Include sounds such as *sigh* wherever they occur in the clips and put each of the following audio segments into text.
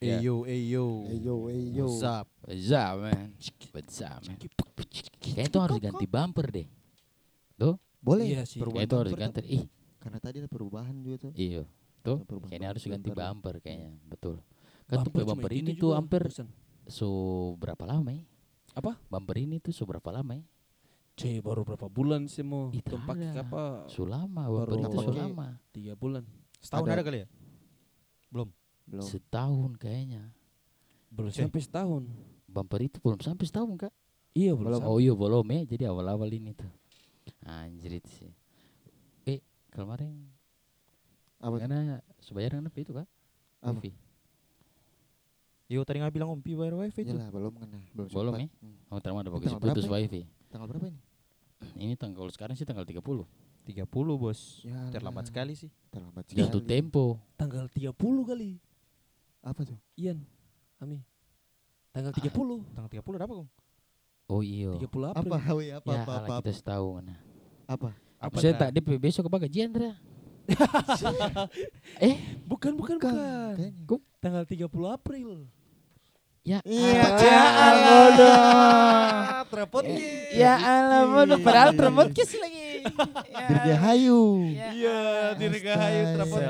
Hey yo, hey yo. Ayo, ayo. What's up? What's up, man? What's up, man? Kayaknya itu harus ganti bumper deh. Boleh. Iya sih. perubahan Kayaknya itu harus bumper ganti. Ih, tuh. Karena tadi ada perubahan juga tuh. iya. Tuh, Perubahan kayaknya harus ganti bumper. bumper kayaknya. Betul. Kan tuh bumper ini tuh hampir so berapa lama ya? Apa? Bumper ini tuh so berapa lama ya? C baru berapa bulan sih mau Ih, Tuh tak pakai ada. apa? So lama, Oh. Baru- bumper itu so Pakai- lama. Tiga bulan. Setahun Ada- ada, kali ya? Belum. Setahun kayaknya. Belum Cek. sampai setahun. Bumper itu belum sampai setahun, Kak. Iya belum. Oh iya belum ya, jadi awal-awal ini tuh. Anjrit sih. Eh, kemarin Apa? karena sebayar kenapa itu, Kak? Apa? Wifi. Yo tadi nggak bilang Ompi bayar wifi tuh. Yalah, Iya belum kena. Belum Belum sempat. ya? Hmm. Oh, terima ada Ini bagus tanggal putus berapa wifi. Tanggal berapa ini? Ini tanggal kalau sekarang sih tanggal 30. 30 bos. Yalah, Terlambat sekali sih. Terlambat sekali. Itu tempo. Tanggal 30 kali. Apa tuh? Ian. Ami. Tanggal Ah, 30. Tanggal 30 ada apa kong? Oh iya. 30 Apa? April. Hawi, apa, Ya, apa, alah apa, apa, kita setahun. Nah. apa? Apa Saya Tra? tak dia besok ke gajian Dra. eh, Bukan, bukan, Bukan, bukan. kayaknya. Tanggal 30 April. ya. Iya, Allah. ya Ah, trepot Eh, ye. Ya Allah, bodoh. padahal terpodcast lagi. Dirgahayu. Iya, Dirgahayu Selamat.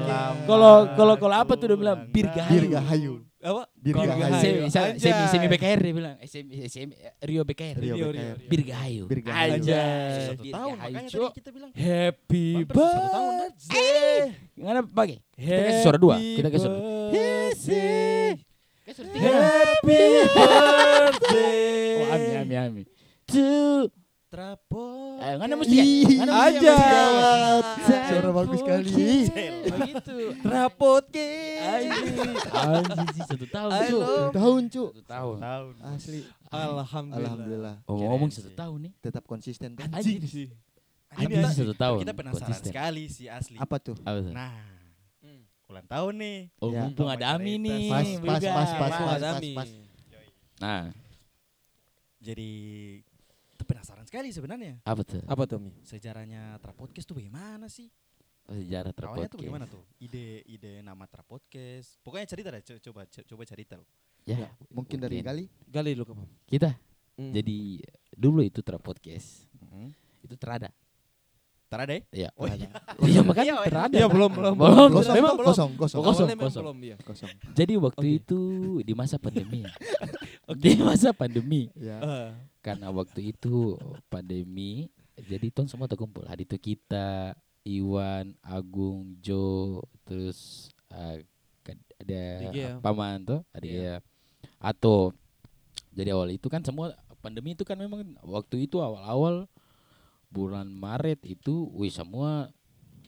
Kalau kalau kalau apa tuh dia bilang Birgahayu. Dirgahayu. Apa? Dirgahayu. Semi, semi, semi, Anjay. semi BKR dia bilang. Eh, Semi, semi, Rio BKR. Rio Rio, Rio, BKR. iya. Rio. Birgahayu. Birgahayu. Anjay. Satu tahun makanya Birgahayu, tadi kita bilang. Happy Hampir satu tahun, kan? birthday. Gimana pakai? Kita kasih suara dua, kita kasih suara birthday. Kayak suruh tiga. Happy birthday. Oh, ami, ami, ami. Two. Trepot. Ayo, ngana Eh, mesti Ih, Aja. Ngana mesti ngana mesti kan? Iya. Suara bagus sekali. Begitu. Rapot ke. Anjir. Anjir sih satu tahun. I Cuk. love- Tahun cu. Satu tahun. Tahun. Asli. Alhamdulillah. Alhamdulillah. Ngomong-ngomong Keren satu sih. tahun nih. Tetap konsisten kan? tuh. Anjir. sih. Anjir Ini sih satu tahun. Kita penasaran konsisten. sekali sih asli. Apa tuh? Apa tuh? Nah, ulang tahun nih. Oh, Ya. mumpung ada Ami nih. Pas, pas, pas, Bebas. Mas pas, pas, pas, Adami. pas. Nah, Jadi kita penasaran sekali sebenarnya. apa tuh? Apa tuh Mi? Sejarahnya Trapodcast tuh bagaimana sih? Sejarah Awalnya terpodcast. tuh bagaimana tuh? Ide ide nama Trapodcast. Pokoknya cerita deh, co- coba co- coba cerita lo. Ya, Mungkin dari kali. Gali lu kamu. Kita. Hmm. Jadi dulu itu terpodcast. Itu terada. Tara deh. Iya. Oh iya. *laughs* Iya makanya Iya, terada. Iya belum belum. Belum. Kosong, Memang belum. kosong, kosong, Oh, Awalnya kosong, memang kosong. Belum iya. kosong. Jadi waktu Oke. itu di masa pandemi. Di masa pandemi. Ya. Eh, karena waktu itu pandemi jadi ton semua terkumpul hari itu kita Iwan Agung Jo terus eh, kad- ada Digi ya. paman tuh ada Iya. ya atau jadi awal itu kan semua pandemi itu kan memang waktu itu awal-awal bulan Maret itu wih semua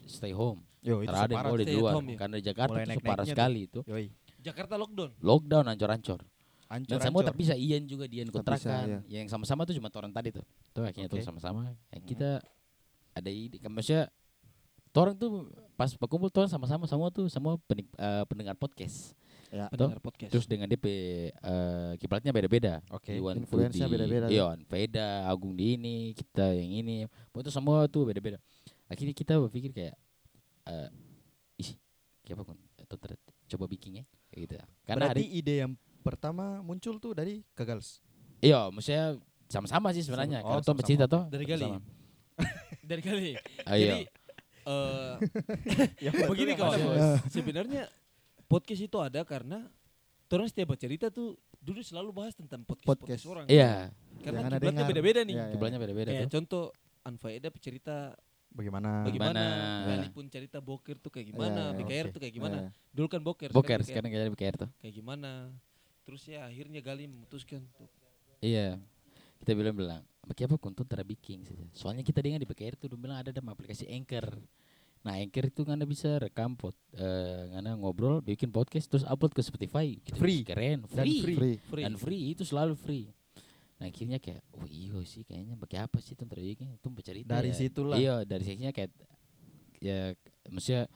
stay home *laughs* Yo Karena ada yang mau di Oh, stay at luar home ya. karena di Jakarta Mulai itu naik-naiknya parah tuh. sekali itu Yoi. Jakarta lockdown. lockdown ancur-ancur Ancur, dan semua ancur. tapi bisa Ian juga Dian Tetap bisa, kontrakan yang sama-sama tuh cuma toran tadi tuh tuh akhirnya tuh Oke. sama-sama ya, Hmm. kita ada ide kan maksudnya torang tuh pas berkumpul torang sama-sama semua tuh semua penik, eh, pendengar podcast Ya. Pendengar podcast. terus dengan DP eh, kiplatnya beda-beda Oke. Iwan influence-nya Budi, beda-beda tuh. Iwan Veda Agung di ini kita yang ini itu semua tuh beda-beda akhirnya kita berpikir kayak eh ih kayak apa Kun? Atau ter- coba bikinnya kayak gitu karena Berarti hari ide yang pertama muncul tuh dari Kagals. Iya, maksudnya sama-sama sih sebenarnya. Sama- oh, Kalau tuh sama-sama. bercerita toh. Dari Gali. sama. *laughs* Dari kali. Ah, Jadi iya. *laughs* eh Ya, *laughs* begini betul, kawan Mas. bos. Sebenarnya podcast itu ada karena orang setiap cerita tuh dulu selalu bahas tentang podcast, podcast. Podcast. orang. Iya, Karena Jangan ada kiblatnya dengar. beda-beda nih. Ya, ya. kiblatnya beda-beda Iya, Kayak Iya, tuh. Ah, contoh Anfaedah cerita Bagaimana? bagaimana, Gimana? Gali pun cerita boker tuh kayak gimana, Ya, ya, BKR Iya, oke. Iya. tuh kayak gimana. Ya. Dulu kan boker, Boker BKR sekarang kayak boker tuh. kayak gimana. Terus ya akhirnya Gali memutuskan untuk Iya. Kita bilang bilang, pakai apa kuntun tera bikin saja. Soalnya kita dengar di BKR tuh dia bilang ada dalam aplikasi Anchor. Nah, Anchor itu kan bisa rekam pot eh ngana ngobrol, bikin podcast terus upload ke Spotify. Gitu. Free. Keren, Dan free. free. Free. free. Dan free itu selalu free. Nah, akhirnya kayak, oh iya sih kayaknya pakai apa sih tuh terjadi itu bercerita Dari ya. situlah. Iya, dari sisinya kayak ya maksudnya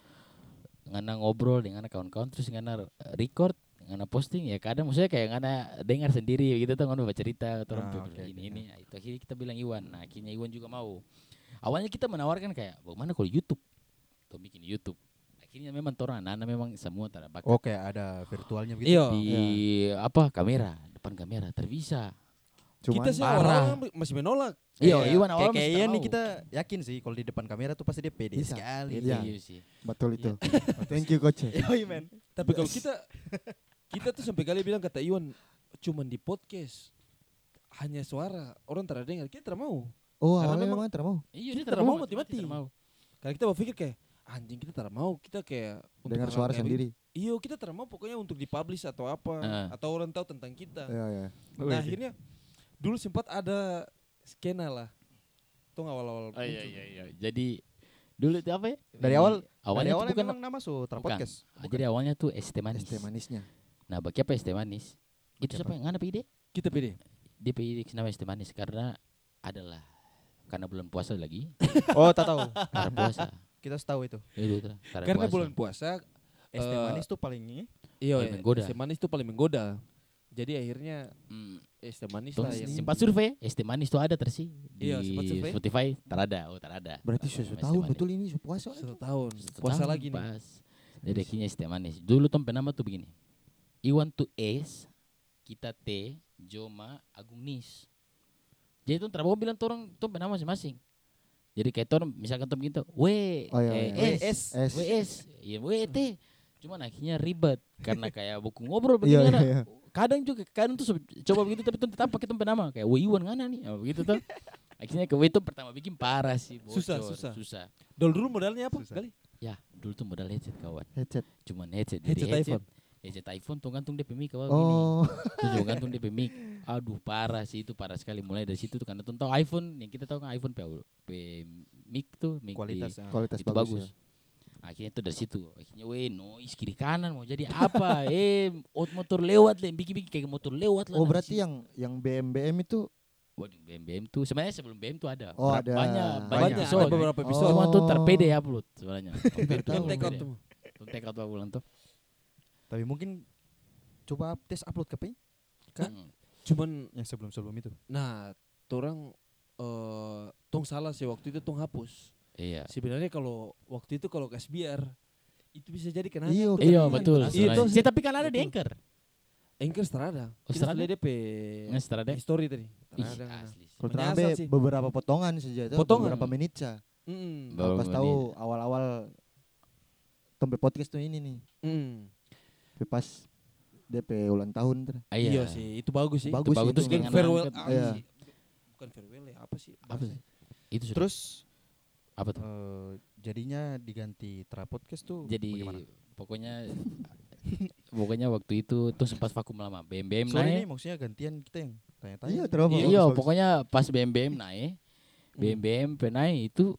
ngana ngobrol dengan kawan-kawan terus ngana record, ngana posting ya kadang maksudnya kayak ngana dengar sendiri gitu tuh ngana cerita atau Ah, oke, ini oke, ini. Nah, itu akhirnya kita bilang Iwan. Nah, akhirnya Iwan juga mau. Awalnya kita menawarkan kayak bagaimana kalau YouTube? Tuh bikin YouTube. Akhirnya akhirnya memang torang anak memang semua tara pakai Oke, ada virtualnya gitu. Iya. di apa kamera depan kamera terbisa Cuman kita sih parah. orang masih menolak. iya Kayak- Iwan awal kayak- kayaknya nih kita yakin sih kalau di depan kamera tuh pasti dia pede Bisa. sekali. itu Iya. iya sih betul itu. Thank you coach. *laughs* Yoi, men. Tapi kalau kita kita tuh sampai kali bilang kata Iwan cuman di podcast hanya suara orang tidak dengar kita tidak mau Oh, Karena awalnya memang- memang tidak mau. iya Kita dia tidak tara mau mau mati-mati. tara mau. karena kita berpikir kayak anjing kita tidak mau kita kayak untuk Dengar orang suara kayak sendiri. Iya kita terima pokoknya untuk dipublish atau apa Heeh. atau orang tahu tentang kita. Iya, iya. Nah akhirnya dulu sempat ada skena lah. Itu awal-awal. oh muncul. iya iya iya jadi dulu itu apa ya Dari awal- awalnya Dari tuh awalnya bukan memang nama Sutra Bukan. *laughs* Podcast. Ah, jadi awalnya tuh es teh Es manis. teh manisnya. Nah, bagi apa es teh manis? Itu Bagi siapa yang nganap ide? Kita pilih. Dia pilih nama es teh manis karena adalah karena bulan puasa lagi, Oh, tak tahu. karena puasa. Kita tahu itu. Itu tuh, karena, Karena puasa. bulan puasa. Es teh Eh, manis tuh paling ini. Iya. Paling menggoda. Es teh manis itu paling menggoda. Jadi akhirnya Hmm, es teh manis tuh lah yang sempat survei, ya? es teh manis tuh ada tersi di ya. Iya, sempat survei. Spotify, terada, oh terada. Berarti Nama susu es teh tahun manis. betul ini su puasa. satu tahun. Satu Puasa tahun lagi nih. pas. Jadi akhirnya es teh manis. Dulu tuh nama tuh begini. Iwan tuh es, kita teh, Joma, Agung Nis. Jadi tuh terbawa bilang tuh orang tuh nama masing-masing. Jadi kayak tuh misalkan tuh gitu, we, Oh, iya, eh, iya. es, Es. we es, ya we teh. Cuman akhirnya ribet karena kayak buku ngobrol Iya, begini. iya, anak. iya. Kadang juga kadang tuh sob- coba begitu tapi tuh tetap pakai tuh nama kayak we Iwan ngana nih, Oh, begitu *laughs* tuh. Akhirnya ke we tuh pertama bikin parah sih, bocor, Susah, susah. susah. Dulu dulu modalnya apa? Susah. Kali? Ya, dulu tuh modal headset kawan. Headset. Cuman headset. Jadi Headset iPhone. Headset iPhone tuh gantung DP mic kawan. Oh, Gini. Tuh juga gantung DP mic. Aduh parah sih itu parah sekali. Mulai dari situ tuh karena tuh tahu iPhone yang kita tahu kan iPhone P, P mic tuh mic Kualitas. di, ah. kualitas itu bagus. bagus. Akhirnya tuh dari situ. Akhirnya weh noise kiri kanan mau jadi apa? eh ot- motor lewat lah bikin-bikin kayak motor ya. lewat lah. Oh, dari berarti situ. yang yang BMBM itu Waduh BM-BM tuh sebenarnya sebelum BM tuh ada. Oh, Berapa- ada. Banyak banyak, Banyak. episode. Ada beberapa Oh. episode. Cuma tuh Oh. terpede ya upload sebenarnya. Yang Tahu, Terpede upload, take out terpede. tuh. Tuh take out tuh pulang tuh. Tapi mungkin coba tes upload ke Pei Kan? Mm. Cuman yang sebelum-sebelum itu. nah orang eh tong salah sih waktu itu tong hapus. Iya. Sebenarnya kalau waktu itu kalau kas biar itu bisa jadi kenanya. Iya, tuh Iya tadi. betul. Iya, sebenarnya. itu Ya, tapi kan ada di betul. anchor. Anchor Strada. Oh, Kita Strada? sudah DP Nggak setelah deh. story tadi. Ih, Strada. asli. sih. Kalau Menyasar terambe sih. beberapa potongan saja, itu Potongan. beberapa menit saja. Mm-mm. Baru Pas menit. tahu awal-awal tempe podcast tuh ini nih. Mm. Tapi Pas DP ulang tahun ter. Ah, Iya Iya sih, itu bagus sih. Bagus. Itu bagus itu terus Bukan dengan farewell. angkat. ah, Iya. sih. Bukan farewell ya, apa sih? Apa sih? Itu sudah. Terus apa tuh? eh, jadinya diganti Tra Podcast tuh Jadi bagaimana? pokoknya *laughs* pokoknya waktu itu tuh sempat vakum lama. BMBM Sorry naik. nih maksudnya gantian kita yang tanya-tanya. Iya, terlalu bagus, ya? Iya, bagus. pokoknya pas BMBM naik, Hmm. BMBM naik itu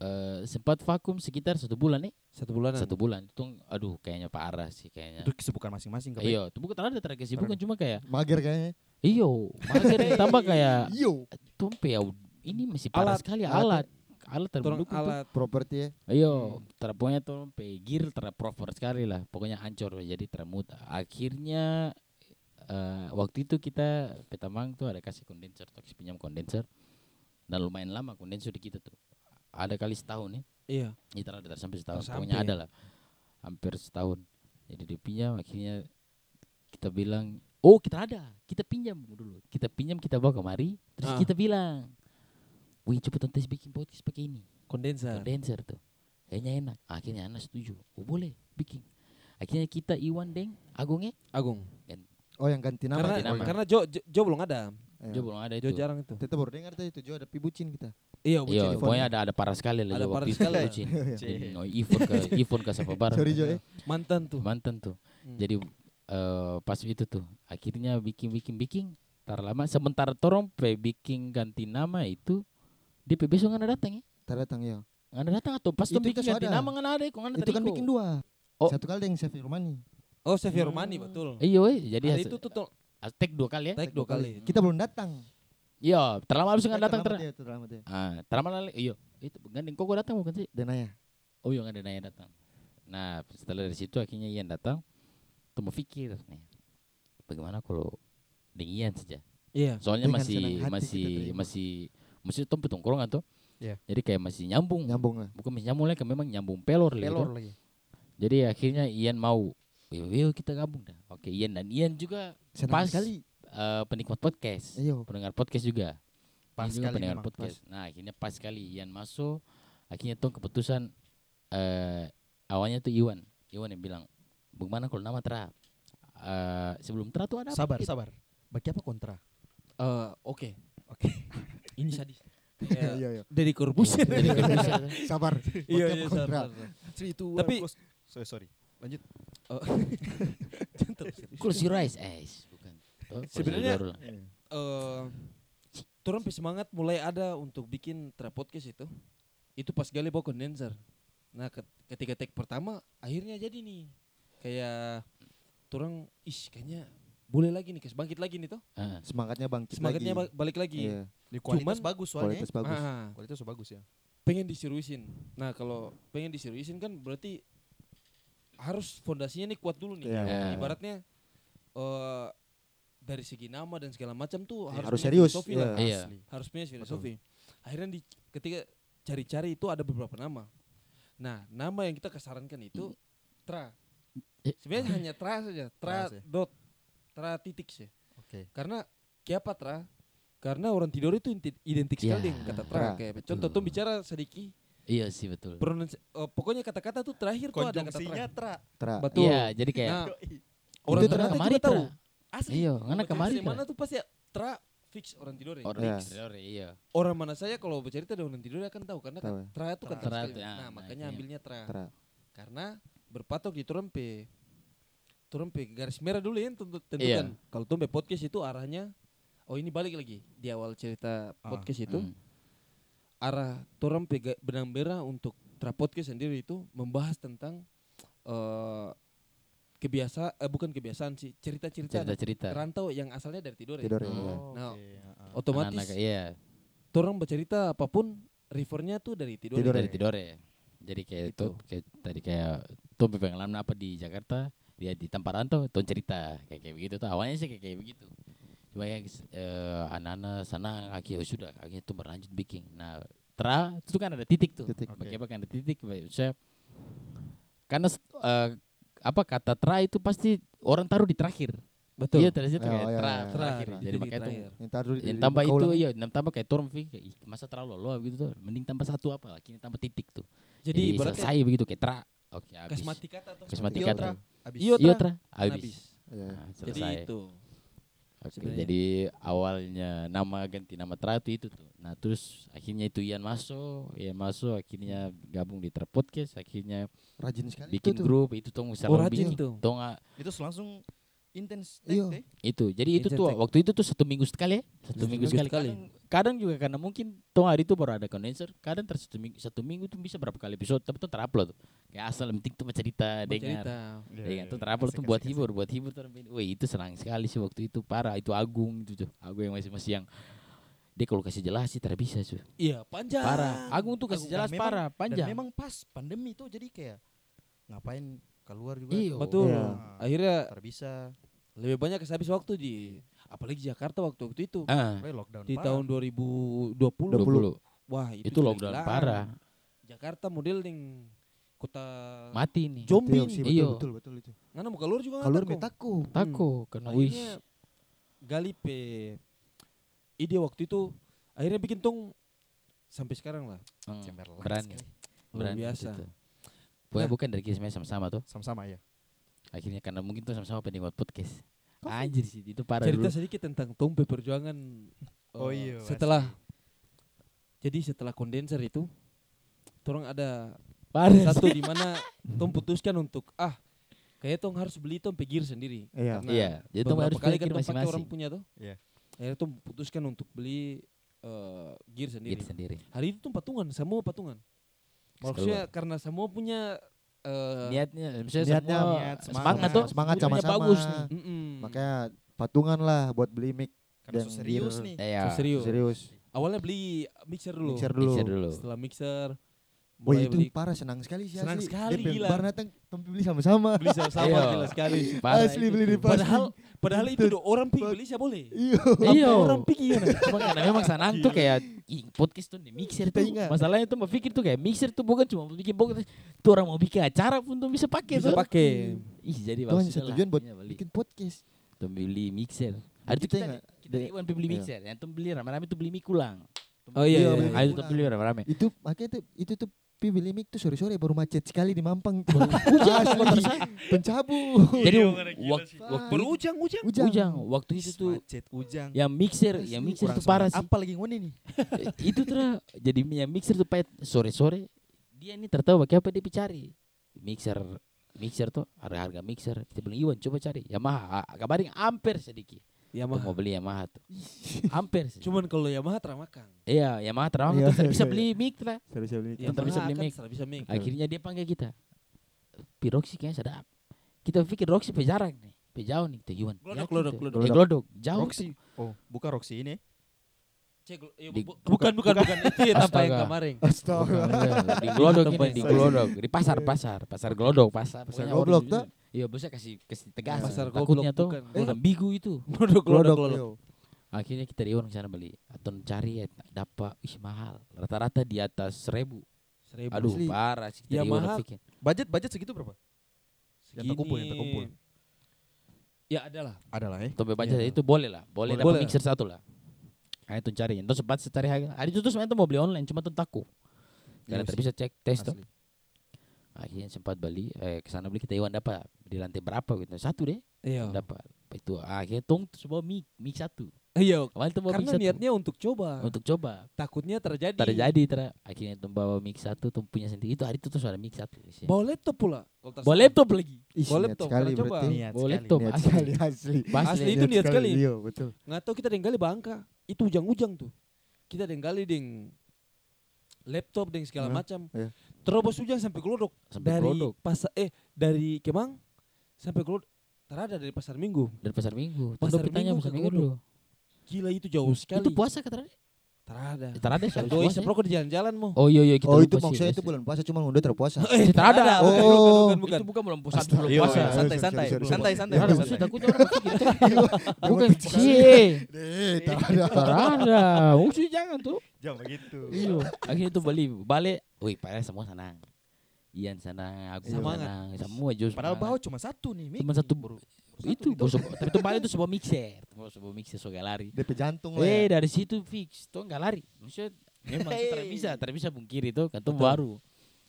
eh, sempat vakum sekitar satu bulan nih Satu bulanan. satu bulan itu aduh kayaknya parah sih kayaknya Itu kesibukan masing-masing ke Pei. iya itu bukan ada terakhir kesibukan cuma kayak Mager kayaknya. iyo *laughs* mager tambah kayak Iyo, tumpe ya ini masih parah Alat, sekali alat alat alat Turun terbentuk alat. properti ya. Ayo, terapnya tuh pegir terproper sekali lah. Pokoknya ancur jadi teramut. Akhirnya eh, waktu itu kita Petamang tuh ada kasih kondenser, tuh kasih pinjam kondenser. Dan lumayan lama kondenser di kita tuh. Ada kali setahun ya. nih. Iya. Ini ada dari sampai Oh, setahun. Pokoknya sampai ada lah. Hampir setahun. Jadi dia pinjam akhirnya kita bilang, "Oh, kita ada. Kita pinjam dulu. Kita pinjam kita bawa kemari." Terus Ah. kita bilang, "Wih, cepetan tes bikin podcast pakai ini." Kondenser. kondenser tuh kayaknya enak akhirnya anak setuju oh boleh bikin akhirnya kita Iwan Deng Agungnya Agung. Oh, yang ganti nama. karena ganti nama. karena Jo, Jo, Jo belum ada. Iya. Jo belum ada Jo itu jarang itu. Kita baru dengar tadi itu Jo ada pibucin kita. Iya, Bu iya Cini. pokoknya ada ada parah sekali lah Ada Jo parah waktu itu sekali. *laughs* Iya. bucin Jadi, no, Ivan ke Ivan ke siapa barang Sorry Jo eh. ya. mantan tuh. mantan tuh Hmm. jadi eh, pas itu tuh akhirnya bikin bikin bikin tar lama sementara torong pe bikin ganti nama itu dia pe besok ngana datang ya Ntar datang ya. ngana datang atau pas tuh Itu bikin kita ganti sudah. nama ngana ada kok ngana Itu kan bikin dua. Oh. Satu kali yang Syafi Rumani. Oh, Xavier Mani betul. iya eh, jadi Hari has- itu tuh tol- has- tag dua kali ya take dua kali. Kita belum datang. iya terlama harus ngana datang ter Terlambat ya, terlambat ya. Ah, terama lali, iyo itu gandeng kok gua datang bukan sih? Denaya. Oh iya gandeng Naya datang. Nah setelah dari situ akhirnya Ian datang, tuh mau pikir nih, bagaimana kalau dengan Ian saja? Iya. Soalnya Dengan senang masih hati masih kita terima. masih masih tuh petongkrongan tuh, Iya. jadi kayak masih nyambung. Nyambung lah. Bukan masih nyambung lagi, memang nyambung pelor, lah gitu. Pelor lagi. Jadi akhirnya Ian mau, "Yuk, yuk kita gabung dah. Oke, Ian dan Ian juga Senang Pas. sekali. Iya, eh, penikmat podcast, Ayo. pendengar podcast juga. Pas Ian juga sekali pendengar memang, podcast. Nah, akhirnya pas sekali Ian masuk, akhirnya tuh keputusan eh awalnya tuh Iwan, Iwan yang bilang, "Bagaimana kalau nama Tra?" Eh, sebelum Tra tuh ada apa Sabar, gitu? sabar. Bagi apa kontra? Eh, Oke. Oke. Ini sadis. *laughs* Iya, iya. Dari Corbusier. Jadi keputusan. Sabar. Iya, Bagi iya, apa sabar, kontra? sabar. Three, two, Tapi- close. Sorry, sorry. Lanjut. Oh. Jangan terlalu serius. Close your eyes, eh, bukan. Oh, close your Sebenarnya- door lah. Iya. Eh, turun pe semangat mulai ada untuk bikin tra podcast itu. Itu pas Gali bawa kondenser. Nah, ket- ketika take pertama akhirnya jadi nih. Kayak turang ish kayaknya boleh lagi nih, guys. bangkit lagi nih toh. Ah. Semangatnya bangkit Semangatnya lagi. ba- balik lagi. Iya, Di kualitas Cuman- bagus soalnya. kualitas bagus. Ah, Kualitas sudah bagus ya. pengen diseriusin. Nah, kalau pengen diseriusin kan berarti harus fondasinya nih kuat dulu nih. Nah, Iya. Iya. Ibaratnya eh, dari segi nama dan segala macam tuh Iya, harus, harus punya serius, filosofi iya. lah. Iya. Asli. harus punya filosofi. Akhirnya di, ketika cari-cari itu ada beberapa nama. Nah, nama yang kita kesarankan itu tra. Eh. Sebenarnya *laughs* hanya tra saja, tra Tra saja. dot, tra titik sih. Oke. Karena kenapa tra? Karena orang tidur itu inti- identik sekali Ya, dengan kata tra. tra. Kayak Betul. contoh tuh bicara sedikit, Iya sih betul. pronunsi- eh, pokoknya kata-kata tuh terakhir tuh ada kata tra. Konjungsinya tra. Tra. Betul. Iya, jadi kayak Nah, Yoi. orang Itu tra ternyata kemari, juga tahu. Tra. Asli. Iya, karena Betul. kemarin. Di mana tuh pasti ya, tra fix orang tidur ya. Orang Iya. fix. Iya. orang mana saya kalau bercerita dengan orang tidur akan tahu karena kan Tahu ya. tra itu kan Tra. tra, Tra itu, nah, ah, makanya makanya. ambilnya tra. Tra. karena berpatok di turempe turempe garis merah dulu ya tentu- tentukan Iya. kalau turempe podcast itu arahnya oh ini balik lagi di awal cerita Ah. podcast itu Mm. arah turempe ga- benang merah untuk tra podcast sendiri itu membahas tentang eh kebiasa eh, bukan kebiasaan sih cerita-cerita anak cerita-cerita. rantau yang asalnya dari tidur, ya. Tidur ya. Hmm. iya. Nah, oke, ah, ah. otomatis Anak-anak, iya. turang bercerita apapun refernya tuh dari tidur, Tidur dari ya. Tidore. Jadi kayak Gitu. itu kayak tadi kayak tuh pengalaman apa di Jakarta, dia di tempat rantau tuh cerita kayak kayak begitu tuh awalnya sih kayak kayak begitu. Cuma ya eh, anak-anak sana akhirnya sudah akhirnya tuh berlanjut bikin. Nah, tra itu kan ada titik tuh. Titik. Oke. Bagaimana kan ada titik saya karena s- eh, apa kata tra itu pasti orang taruh di terakhir. betul Iya, terus Oh, itu kayak iya, iya, tra, iya. tra Tra, akhir. tra. Jadi Titik makanya tuh terakhir. Yang taruh di- yang di tambah kau itu ulang. iya yang tambah kayak turun Fi. Kayak, "Ih, masa terlalu lo gitu tuh mending tambah satu apa lagi tambah titik tuh jadi jadi, ibaratnya selesai begitu kayak tra oke habis kasmati kata atau Kasmati Iya, kata. tra. Abis. Iya, iya tra. tra habis Iya. Nah, jadi selesai itu Oke, sebenarnya. jadi awalnya nama ganti nama tra tuh itu tuh nah terus akhirnya itu Ian masuk Ian masuk akhirnya gabung di Tra Podcast akhirnya Rajin sekali bikin itu tuh. grup itu tuh Oh, selalu rajin bikin tuh. Tuh nggak- Itu langsung intens Iya. take, eh. itu jadi itu Insert tuh tag. waktu itu tuh satu minggu sekali ya satu minggu minggu sekali, sekali. Kadang, kadang juga karena mungkin tuh hari itu baru ada kondenser kadang ter satu minggu satu minggu tuh bisa berapa kali episode tapi tuh terupload tuh. kayak asal yang penting tuh cerita dengar Iya, bercerita dengar Iya, tuh terupload tuh buat hibur buat hibur tuh wih itu senang sekali sih waktu itu parah itu Agung itu tuh Agung yang masih masih yang dia kalau kasih jelas sih tidak bisa sih iya panjang parah Ah. Agung tuh kasih Agung, jelas dan memang- parah Dan panjang memang pas pandemi tuh jadi kayak ngapain keluar juga. Nah, Iya. betul Iya. akhirnya Ntar bisa. lebih banyak kesabis waktu di apalagi Jakarta waktu waktu itu ah Mulai lockdown di parah. tahun 2020 20. wah itu, itu lockdown gila-gilaan. parah Jakarta model ning kota mati nih Zombie Betul nih. sih, Iya. betul, betul, betul itu. ngana mau keluar juga Kalau ngana kok. metaku. tako karena wih akhirnya gali pe ide waktu itu akhirnya bikin tong sampai sekarang lah mm, Cemerlang berani sekali. Hmm, luar berani biasa gitu. Pokoknya Nah. bukan dari kita sebenarnya sama-sama tuh. Sama-sama ya. Akhirnya karena mungkin tuh sama-sama penikmat podcast. Anjir sih itu parah cerita dulu. sedikit tentang Tompe perjuangan Oh eh, iya, setelah jadi setelah kondenser itu tolong ada Parah. *laughs* satu di mana Tom putuskan untuk ah kayak Tom harus beli Tom gear sendiri Iya. Karena Iya, jadi tuh Nah, beberapa harus kali pikir kan Tom pakai orang masing-masing. punya tuh Iya. akhirnya Tom putuskan untuk beli eh, gear sendiri Gitu sendiri. hari itu Tom patungan semua patungan maksudnya karena semua punya eh, Niatnya, misalnya Niatnya, semua niat, semangat semangat. tuh. Semangat Niatnya sama-sama. Bagus nih. mm-mm. Makanya patungan lah buat beli mic Karena Dan so Kan serius dir- nih. Iya. So, serius. serius. awalnya beli mixer dulu Mixer Mixer dulu. dulu. setelah mixer Oh mulai itu beli- parah senang sekali sih Senang asli. sekali, Dia pengen gila. bar datang tempe beli sama-sama. beli sama-sama Iya. gila sekali. Parah asli itu beli di tuh. pasar. Padahal padahal itu do- orang pi beli siapa boleh. Iya. Iya. Orang pi gimana? *laughs* Cuma karena memang sanang tuh kayak "Ih, podcast tuh di mixer Kita tuh. ingat. Masalahnya tuh mau pikir tuh kayak mixer tuh bukan cuma bikin podcast. Tuh orang mau bikin acara pun tuh bisa pakai Bisa tuh. pakai. Ih, jadi Tuh hanya maksudnya lah, tujuan buat iya, beli. bikin podcast. Tuh beli mixer. Ada Kita tuh kita ingat. kita Ya. Dari- Iwan beli iya. mixer, yang tuh beli rame-rame tuh beli mie kulang. Oh iya, Iya, iya. beli iya. Ayo tuh beli rame-rame. Itu makanya tuh itu tuh Pi beli mic tuh sore-sore baru macet sekali di Mampang tuh. *laughs* Iya, Asli, pencabut. Jadi Iya, orang gila wak- sih. waktu Berujang ujang. Ujang. Ujang, Ya, waktu itu tuh macet ujang. yang mixer, yang Asli, mixer kurang tuh parah sih. Apa lagi ngone nih? Eh, itu tuh jadi yang mixer tuh pahit sore-sore dia ini tertawa pakai apa dia pi cari mixer mixer tuh harga harga mixer kita bilang Iwan coba cari Yamaha A- kabarin amper sedikit Tuh mau Yamaha. beli Yamaha *laughs* tuh amper sih Cuman kalau Yamaha teramakan. iya Yamaha terang Iya, tuh tak bisa iya. beli mic tuh. Sore-sore beli mic. Iya, Tetap bisa beli akan mic. tetap kan bisa mic. akhirnya dia panggil kita pi Roxy kayaknya sedap kita pikir Roxy pi jarak nih pi jauh nih kita Iwan Glodok, yakin glodok, tuh. glodok. Eh, glodok jauh Roxy. tuh. Oh, buka Roxy ini. Cek, lu- iya, Di- bu- bukan bukan bukan itu ya apa yang Astaga. kemarin. *laughs* Astaga. di glodok Tempat ini di yang glodok di pasar Iya. pasar pasar glodok pasar Pasar pokoknya goblok orang tuh. jujur. iya bosnya kasih kasih tegas Iya, Pasar takutnya goblok, tuh bukan. Iya. orang bigu itu Glodok glodok Glodok, glodok. yo. akhirnya kita riuh ke sana beli atau cari eh, dapat ih mahal rata-rata di atas seribu Seribu. aduh asli. parah sih Ya, kita riuh mahal. pikir Budget budget segitu berapa? Yang tak kumpul, yang tak Segini. kumpul. Ya adalah. Adalah eh. tapi baca Iya. itu boleh lah Boleh. boleh dapat Boleh. mixer satu lah Ayo tuh cari, terus sempat cari harga. Hari itu tuh sebenarnya tuh mau beli online, cuma tuh takut. Karena Iya tak sih, bisa cek tes tuh. asli. Akhirnya sempat beli, eh kesana beli kita Iwan dapat di lantai berapa gitu, satu deh. Iya. dapat itu akhirnya tong sebuah mic mic satu Iya. awalnya tuh bawa mic Karena satu niatnya untuk coba. untuk coba Takutnya terjadi. terjadi ter akhirnya tuh bawa mic satu tuh punya sendiri itu hari itu tuh suara mic satu isinya. Bawa laptop pula. Kalau tak bawa salah. laptop lagi Ih, Boleh niat tuh, sekali kita coba. Iya. berarti. Niat bawa sekali. laptop Niat asli sekali asli. Asli. Asli. itu niat sekali. Iya, betul. Nggak tahu kita denggali bangka. Itu ujang-ujang tuh. Kita denggali deng laptop deng segala Hah? macam. Iya. Terobos ujang sampai glodok. sampai Dari produk pasar eh dari Kemang sampai glodok. Terada dari pasar Minggu. dari pasar minggu Pasar pasar minggu, Minggu pasar ke minggu dulu Glodok. Gila itu jauh sekali. itu puasa kata dia Terada. terada sih Doi isep rokok di jalan-jalan mau. ya? oh iya iya kita Oh, itu lupa sih, maksudnya itu *laughs* pasti. bulan puasa cuma mundur *laughs* terpuasa. Eh, Terada. bukan, bukan, Oh. bukan, bukan. itu bukan bulan puasa Astaga. belum Iya, puasa iya, Sorry, sorry, santai santai. sorry, sorry. Santai santai. Terada, santai. Iya, maksudnya takutnya orang berpikir, bukan Jangan bercanda. cie Eh, Iya, tarada. terada maksudnya Oh, jangan tuh Jangan begitu. Iya. Akhirnya tuh balik balik. Wih, padahal semua senang. Ian senang, aku Semangat. senang, semua jus. Padahal semangat. bawa cuma satu nih, Mik. Cuma satu Baru- itu bos, tapi tuh balik tuh sebuah mixer, Tuh sebuah mixer so gak lari. DP jantung lah. Eh ya. dari situ fix, tuh nggak lari. Maksudnya memang Hey. tidak bisa, tidak bisa pungkiri itu, kan tuh baru.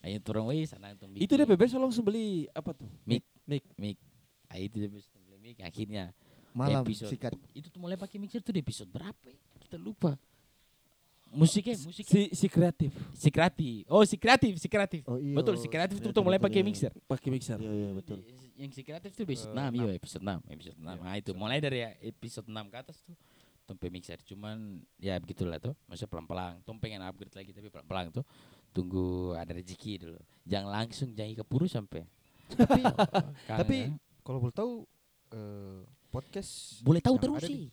Ayo turun wih senang tuh. Itu dia bebas langsung beli apa tuh? Mic. Mic. mic. Ayo itu dia bebas beli mic akhirnya. Malam episode. sikat. Itu tuh mulai pakai mixer tuh di episode berapa ya? Kita lupa. Musiknya, musiknya Si si kreatif si kreatif. Oh, si kreatif, si kreatif. Oh, iya. Betul, si kreatif tuh Kreatif, tuh mulai betul, pakai iya. mixer. pakai mixer. Iya, iya, betul. Yang si kreatif tuh episode Eh, 6, iya enam. episode 6, episode 6. Iya, Nah, itu episode mulai dari episode 6 ke atas tuh tompe mixer. Cuman ya begitulah tuh, maksudnya pelan-pelan. Tom pengen upgrade lagi tapi pelan-pelan tuh. Tunggu ada rezeki dulu. Jangan langsung jangan keburu sampai. Tapi Tapi kalau boleh tahu eh, podcast boleh tahu yang terus ada di- sih.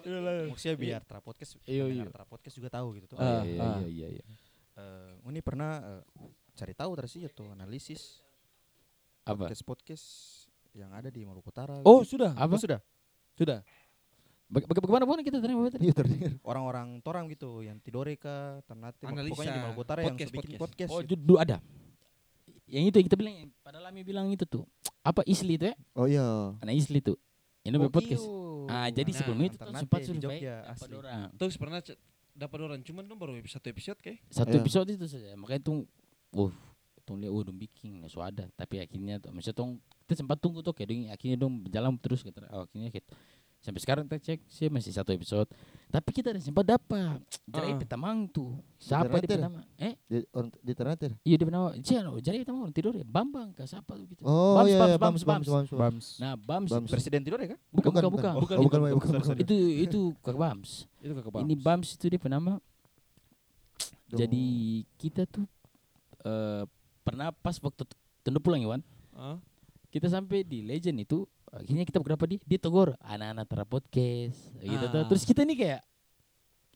*laughs* Maksudnya biar tra podcast, Iya, pendengar iya. tra podcast juga tahu gitu Oh, tuh. Ah, iya, ah. iya, iya, iya. Eh, ini pernah eh, cari tahu dari sih atau analisis Apa? podcast podcast yang ada di Maluku Utara. Oh, gitu. sudah. Apa? Oh, sudah. Sudah. Baga- baga- Bagaimana bagaimana kita tadi? Bapak tadi? Iya, terdengar. Orang-orang torang gitu yang Tidore kah, Ternate, mak- pokoknya di Analisa. Maluku Utara yang Podcast, suka bikin podcast. podcast. Oh, gitu. dulu ada. Yang itu yang kita bilang, yang pada lami bilang itu tuh. Apa Isli itu ya? Oh iya. Nah, Isli tuh. Ini Oh, podcast. iyo. Ah, jadi Nah, sebelum itu tuh Ternate sempat ya, di survei Jogja, dapat asli. orang. Terus pernah c- dapat orang cuman tuh baru satu episode kayak. Satu Iya. episode itu saja. Makanya tuh wuh, tuh lihat wuh dong bikin so ada, tapi akhirnya tuh maksudnya tuh kita sempat tunggu tuh kayak dong, akhirnya dong berjalan terus gitu. Oh, akhirnya kita sampai sekarang kita cek sih masih satu episode. Tapi kita ada sempat dapat jari Ah. petamang tuh. Siapa Ternate di dah. petamang? Eh, Di, orang, di Ternate. iya di petamang. Siapa? Jari petamang orang tidur ya. Bambang ke siapa tuh gitu. Oh Bams, iya, iya, Bams, Bams, Bams, Bams. Nah, Bams, Bams. Presiden Tidore kah? bukan bukan bukan. Oh, bukan, bukan, bukan, bukan, bukan. Itu itu ke *laughs* Bams. Itu kakak Ini Bams itu dia penama. Duh. Jadi kita tuh eh, pernah pas waktu tu- tunda pulang Iwan, kita sampai di Legend itu akhirnya kita berapa di dia tegur anak-anak tera podcast gitu tuh. Ah. Terus kita nih kayak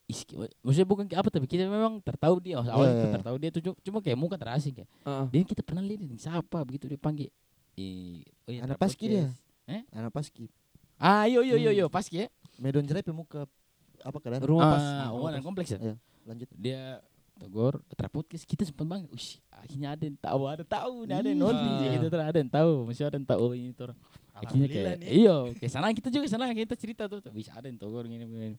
iski, maksudnya bukan apa tapi kita memang tertahu dia awalnya Iya, kita iya. tertahu dia tuh cu- cuma kayak muka terasing kayak Heeh. dia kita pernah lihat di siapa begitu dia panggil eh oh iya, Anak Tra Paski dia. Podcast. anak paski ah yo yo yo yo paski ya medon jelek pemuka apa keadaan Rumah pas. ah Rumah Oman Pas. Eh. Iya, kompleks ya lanjut dia tegur terpodcast kita sempat banget Ush, akhirnya ada yang tahu ada yang tahu nih ada yang notice ya Iya. kita terus ada yang tahu masih ada yang tahu ini tuh orang. akhirnya Alhamdulillah kayak nih. iya kayak sana kita juga sana kita cerita tuh bisa ada yang tegur gini begini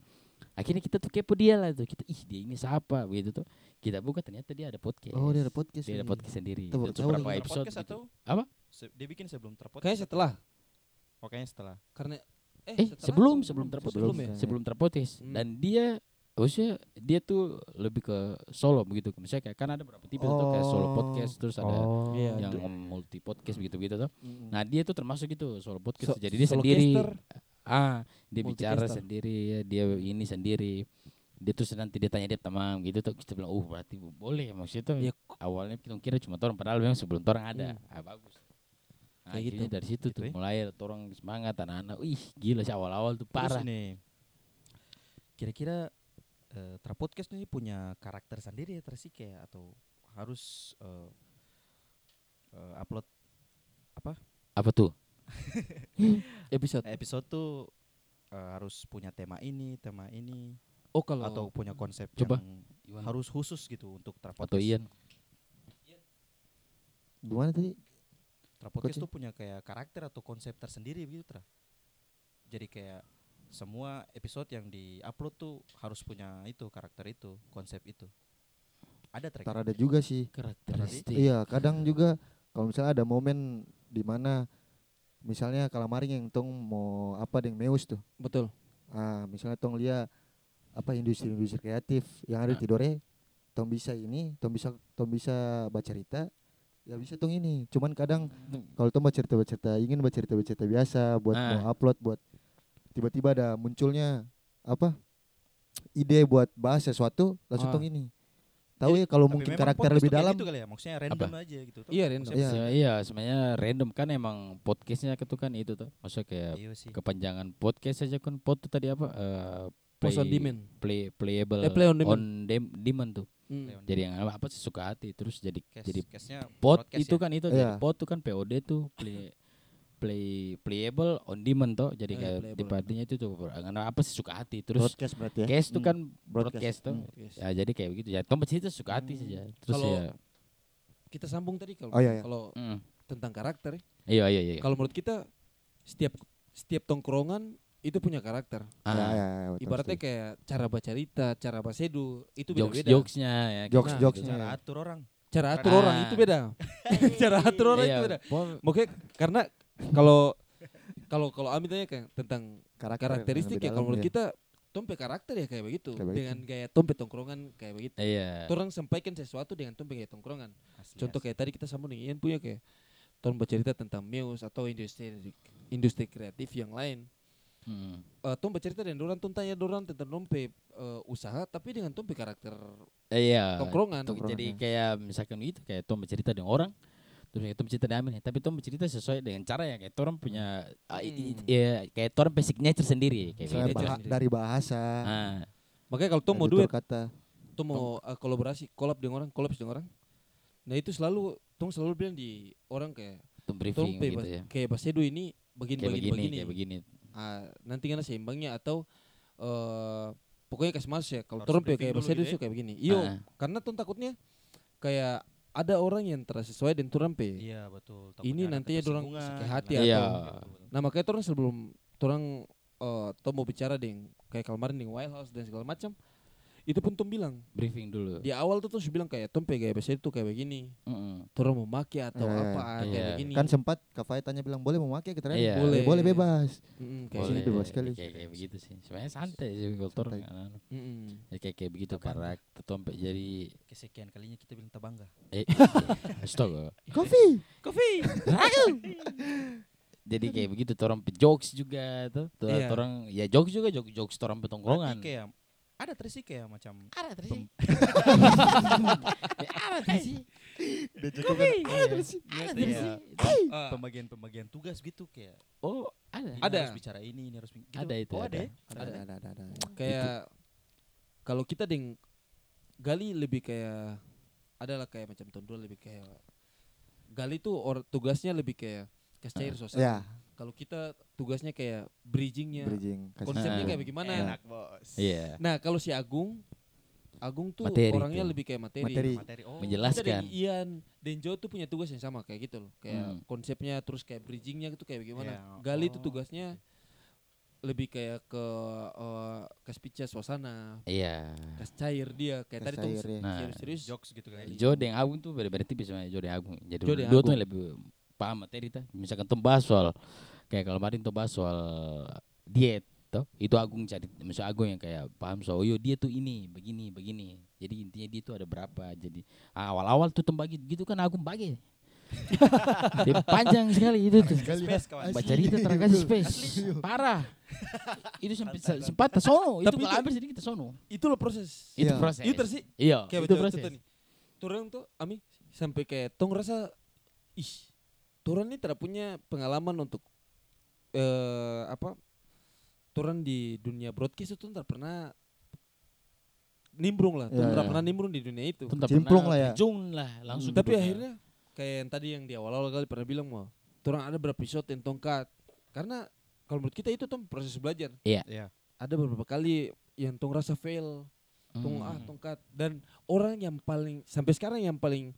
akhirnya kita tuh kepo dia lah tuh kita ih dia ini siapa begitu tuh kita buka ternyata dia ada podcast oh dia ada podcast Iya, dia ada nih. podcast sendiri Kita baru itu tahu berapa lagi. episode Terpodcast gitu. atau Apa? Se- dia bikin sebelum terpodcast. Kayaknya setelah Pokoknya setelah. karena eh setelah sebelum atau sebelum terpodcast sebelum Sebelum ya. ya. sebelum terpotis Hmm. dan dia maksudnya dia tuh lebih ke solo begitu misalnya kayak kan ada berapa tipe tuh kayak solo Oh. podcast terus ada Iya. yang Aduh. Hmm. multi podcast begitu begitu tuh Mm-mm. nah dia tuh termasuk gitu solo podcast So- jadi dia solo sendiri caster. ah dia bicara Multicaster. sendiri ya, dia ini sendiri dia tuh nanti dia tanya dia teman gitu tuh kita bilang uh berarti boleh maksudnya tuh Ya, awalnya kita kira cuma orang padahal memang sebelum orang ada ah, bagus Kayak gitu. nah, akhirnya dari situ Gitu tuh ya. mulai orang semangat anak-anak ih gila sih awal-awal tuh parah Terus nih. Kira-kira eh terpodcast nih punya karakter sendiri ya tersike atau harus eh, eh, upload apa tuh episode. episode tuh eh, harus punya tema ini, tema ini Oh kalau atau punya konsep Coba. yang Iwan harus khusus gitu untuk terpodcast. atau iya Ian gimana tadi Trapodcast Coach. tuh punya kayak karakter atau konsep tersendiri begitu Tra. Jadi kayak semua episode yang di-upload tuh harus punya itu karakter itu, konsep itu. Ada Tra? gitu? tar ada gitu. juga sih karakteristik iya kadang juga kalau misalnya ada momen di mana misalnya kalamaring yang tong mau apa deng meus tuh betul. ah misalnya tong lia apa industri-industri kreatif yang ada Ah. tidurnya tong bisa ini tong bisa tong bisa baca cerita ya bisa tong ini cuman kadang Iya. kalau tong baca cerita baca cerita ingin baca cerita baca cerita biasa buat Ah. mau upload buat tiba-tiba ada munculnya apa ide buat bahas sesuatu langsung Ah. tong ini tahu ya Jadi, kalau tapi mungkin memang karakter podcast lebih tuh kayak dalam gitu kali ya, maksudnya random aja gitu. Tuh, Iya, random. konsep- Iya. Se- iya sebenarnya random kan emang podcastnya itu kan itu tuh maksudnya kayak Iya sih. kepanjangan podcast aja kan pod tuh tadi apa eh, Post on play- demand. play playable Eh, play on demand. dem- demand tuh Mm. Leon. jadi yang apa apa sesuka hati terus jadi Cast- jadi castnya pod broadcast itu ya. kan itu jadi Iya. pod tuh kan POD tuh play play playable on demand tuh jadi Eh, kayak playable. diperhatinya itu tuh karena apa sesuka hati terus broadcast berarti ya case tuh Hmm. kan Broadcast. broadcast tuh Hmm. Yes. ya jadi kayak begitu ya tempat situ suka hati Hmm. saja terus Kalau- ya Kita sambung tadi kalau Oh, iya, iya. kalau mm. tentang karakter. ya. iya iya iya Kalau menurut kita setiap setiap tongkrongan itu punya karakter. Ah, ya, ya, ya, betul, Ibaratnya setuju. kayak cara baca cerita, cara bahasa edu, itu jokes beda-beda. jokesnya ya kayak jokes Nah, jokesnya cara ya. atur orang. Cara Nah. atur orang itu *laughs* beda. cara atur orang Iya, itu beda. po- Makanya karena kalau kalau kalau Ami tanya kayak tentang karakteristik ya lebih kalau dalam menurut ya. kita tompe karakter ya kayak begitu Kayak begitu. dengan gaya tompe tongkrongan kayak begitu. iya Orang sampaikan sesuatu dengan tompe gaya tongkrongan. Asli, Contoh asli. kayak tadi kita sambung dengan Ian punya kayak Ton bercerita tentang Muse atau industri industri kreatif yang lain. Mm. Eh Tom bercerita dan Doran Tom tanya Doran tentang Tompe usaha tapi dengan Tompe karakter iya tongkrongan. Tom- jadi Tongkrongan, kayak misalkan itu kayak Tom bercerita dengan orang terus kayak Tom cerita dengan Amin tapi Tom bercerita sesuai dengan cara yang kayak orang punya ah, i- i- Hmm. ya, kayak orang punya signature sendiri kayak Misalnya Iya, gitu. bahas- ya. baha- sendiri. dari bahasa Ah, Makanya kalau Tom dari mau tutur duet, kata Tom mau eh, kolaborasi, kolab dengan orang, kolab dengan orang. Nah itu selalu Tom selalu bilang di orang kayak Tom Tom briefing kayak gitu ya kayak Basedo ini begini kayak begini begini, begini. kayak begini Ah, nanti kan seimbangnya atau eh pokoknya kasih mas ya kalau Harus Tom kayak briefing dulu Basedo gitu ya. itu kayak begini. Iyo, Ah. karena tuh takutnya kayak ada orang yang tersesuai dan turampe. Iya, betul. Ini Takutnya ada nantinya dorang ketersinggungan, gitu. sakit hati dan lain Iya. sebagainya. Nah makanya turun sebelum turang eh Tom mau bicara ding kayak kemarin di White House dan segala macam itu pun Tom bilang briefing dulu di awal tuh terus bilang kayak Tom kayak biasanya itu kayak begini Mm-mm. turun mau make atau Eh, apa ah, kayak iya. begini kan sempat Kafai tanya bilang boleh memakai kita ya Iya. Boleh. boleh bebas Mm-mm, kayak Boleh, sini gitu. bebas sekali. kayak, kayak begitu sih sebenarnya santai sih kalau Tom Santai. kan. Mm-mm. Ya, kayak kayak begitu karakter Tom *laughs* jadi Kesekian kalinya kita bilang tabangga. eh astaga kopi Kopi. jadi kayak begitu orang jokes juga tuh Tuh, Iya. orang ya jokes juga jokes jokes orang petongkrongan Berarti kayak ada terisi kayak macam ada terus sih. *clears throat* Iya. Pem- pembagian-pembagian tugas gitu kayak Oh, ada. ini Ada. harus bicara ini ini harus bi- gitu. Ada itu, oh, ada. ada, ya? Ada. ada ada ada kayak kalau kita deng gali lebih kayak adalah kayak macam tondol lebih kayak gali tuh or, tugasnya lebih kayak kasih Ah, cair suasana. iya. ya Kalau kita tugasnya kayak bridgingnya, bridging kasih- konsepnya Ah. kayak bagaimana. Enak, bos. Iya. Nah kalau si Agung, Agung tuh Materi orangnya tuh. lebih kayak materi. Materi. Materi. Kita Oh. dan Menjelaskan. Ian, Denjo tuh punya tugas yang sama kayak gitu loh, kayak Hmm. konsepnya terus kayak bridgingnya gitu kayak Iya. bagaimana. Gali tuh Oh, tugasnya lebih kayak ke eh, kasih pecah suasana, Iya. kasih cair dia kayak Kas tadi tuh cair, ya. Nah. serius-serius Jokes gitu kan. Jo dengan Agung tuh beda-beda tipis sama Jo dengan Agung. Jadi Jo dengan dua Agung. tuh yang lebih paham materi tuh. Misalkan tuh bahas soal kayak kalau kemarin tuh bahas soal diet toh itu Agung cari misal Agung yang kayak paham soal "Oh, yo dia tuh ini begini begini jadi intinya dia tuh ada berapa jadi ah, awal-awal tuh tembagi gitu kan Agung bagi *laughs* dia panjang sekali itu tuh Sekali. Space, ya. kawan. Asli. baca cerita terkasih space Asli. parah itu sempat sempat tersono itu Tapi kalau itu- habis jadi kita sono Itu loh proses. itu Iya. proses Itu sih iya kayak itu betul proses betul nih. Turun tuh Ami sampai kayak tong rasa ih. Turun nih tidak punya pengalaman untuk eh apa? Turun di dunia broadcast itu tidak pernah nimbrung lah, tidak Iya, iya. pernah nimbrung di dunia itu. Tetap Cemplung pernah lah ya. terjun lah langsung Tapi duduk. akhirnya kayak yang tadi yang di awal-awal kali pernah bilang mau, turun ada berapa episode yang tongkat. Karena kalau menurut kita itu tuh proses belajar. Iya. Ada beberapa kali yang tong rasa fail, tung ah Hmm. tongkat dan orang yang paling sampai sekarang yang paling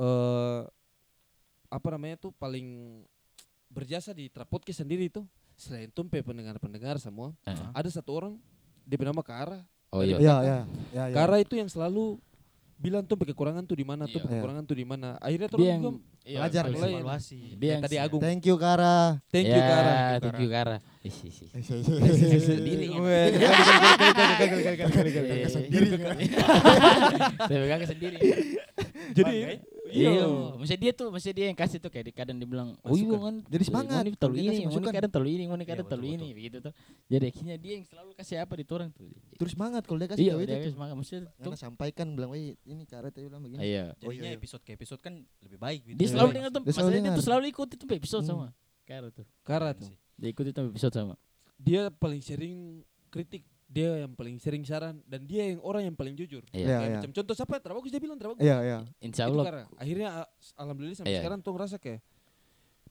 eh apa namanya tuh paling berjasa di Tra podcast sendiri itu selain tumpe pendengar-pendengar semua Ah. ada satu orang dia bernama Kara Oh iya. ya ya ya ya Kara itu yang selalu bilang tuh kekurangan tuh di mana tuh Iya. Iya. kekurangan tuh di mana akhirnya tuh Dia orang yang juga iya, belajar. betul. Mulai. Evaluasi. Dia yang tadi Agung thank you Kara thank Ya, you Kara Thank you Kara. Ih, ih, Iya, ih. sendiri Iya, Iya. Kan, Iya. *laughs* sendiri *laughs* Tapi kakak sendiri. jadi ya. Iya, maksudnya dia tuh, maksudnya dia yang kasih tuh kayak di- kadang dibilang, "Oh iya, Masukan. kan Jadi semangat. Ini Kita terlalu ini, kasih ini masukan. kadang terlalu ini, ini kadang betul, terlalu betul. ini begitu tuh." Jadi akhirnya dia yang selalu kasih apa di orang tuh. terus semangat kalau dia kasih Iya, tahu dia itu kasih semangat maksudnya tuh. karena sampaikan bilang "Wih, ini Kara tadi bilang begini Iya. Oh, iya, Jadinya iya. episode ke episode kan lebih baik gitu. Dia Iya. selalu dengar tuh, Dia selalu maksudnya dia dengar. tuh selalu ikut itu episode Hmm. sama. Kara tuh. Iya. Kara tuh Dia ikut itu episode sama. dia paling sering kritik dia yang paling sering saran dan dia yang orang yang paling jujur Iya, Iya. Kayak iya. macam contoh siapa Tra bagus dia bilang Tra bagus iya iya Insya itu Allah. karena akhirnya a- s- alhamdulillah sampai Iya, iya. sekarang tuh ngerasa kayak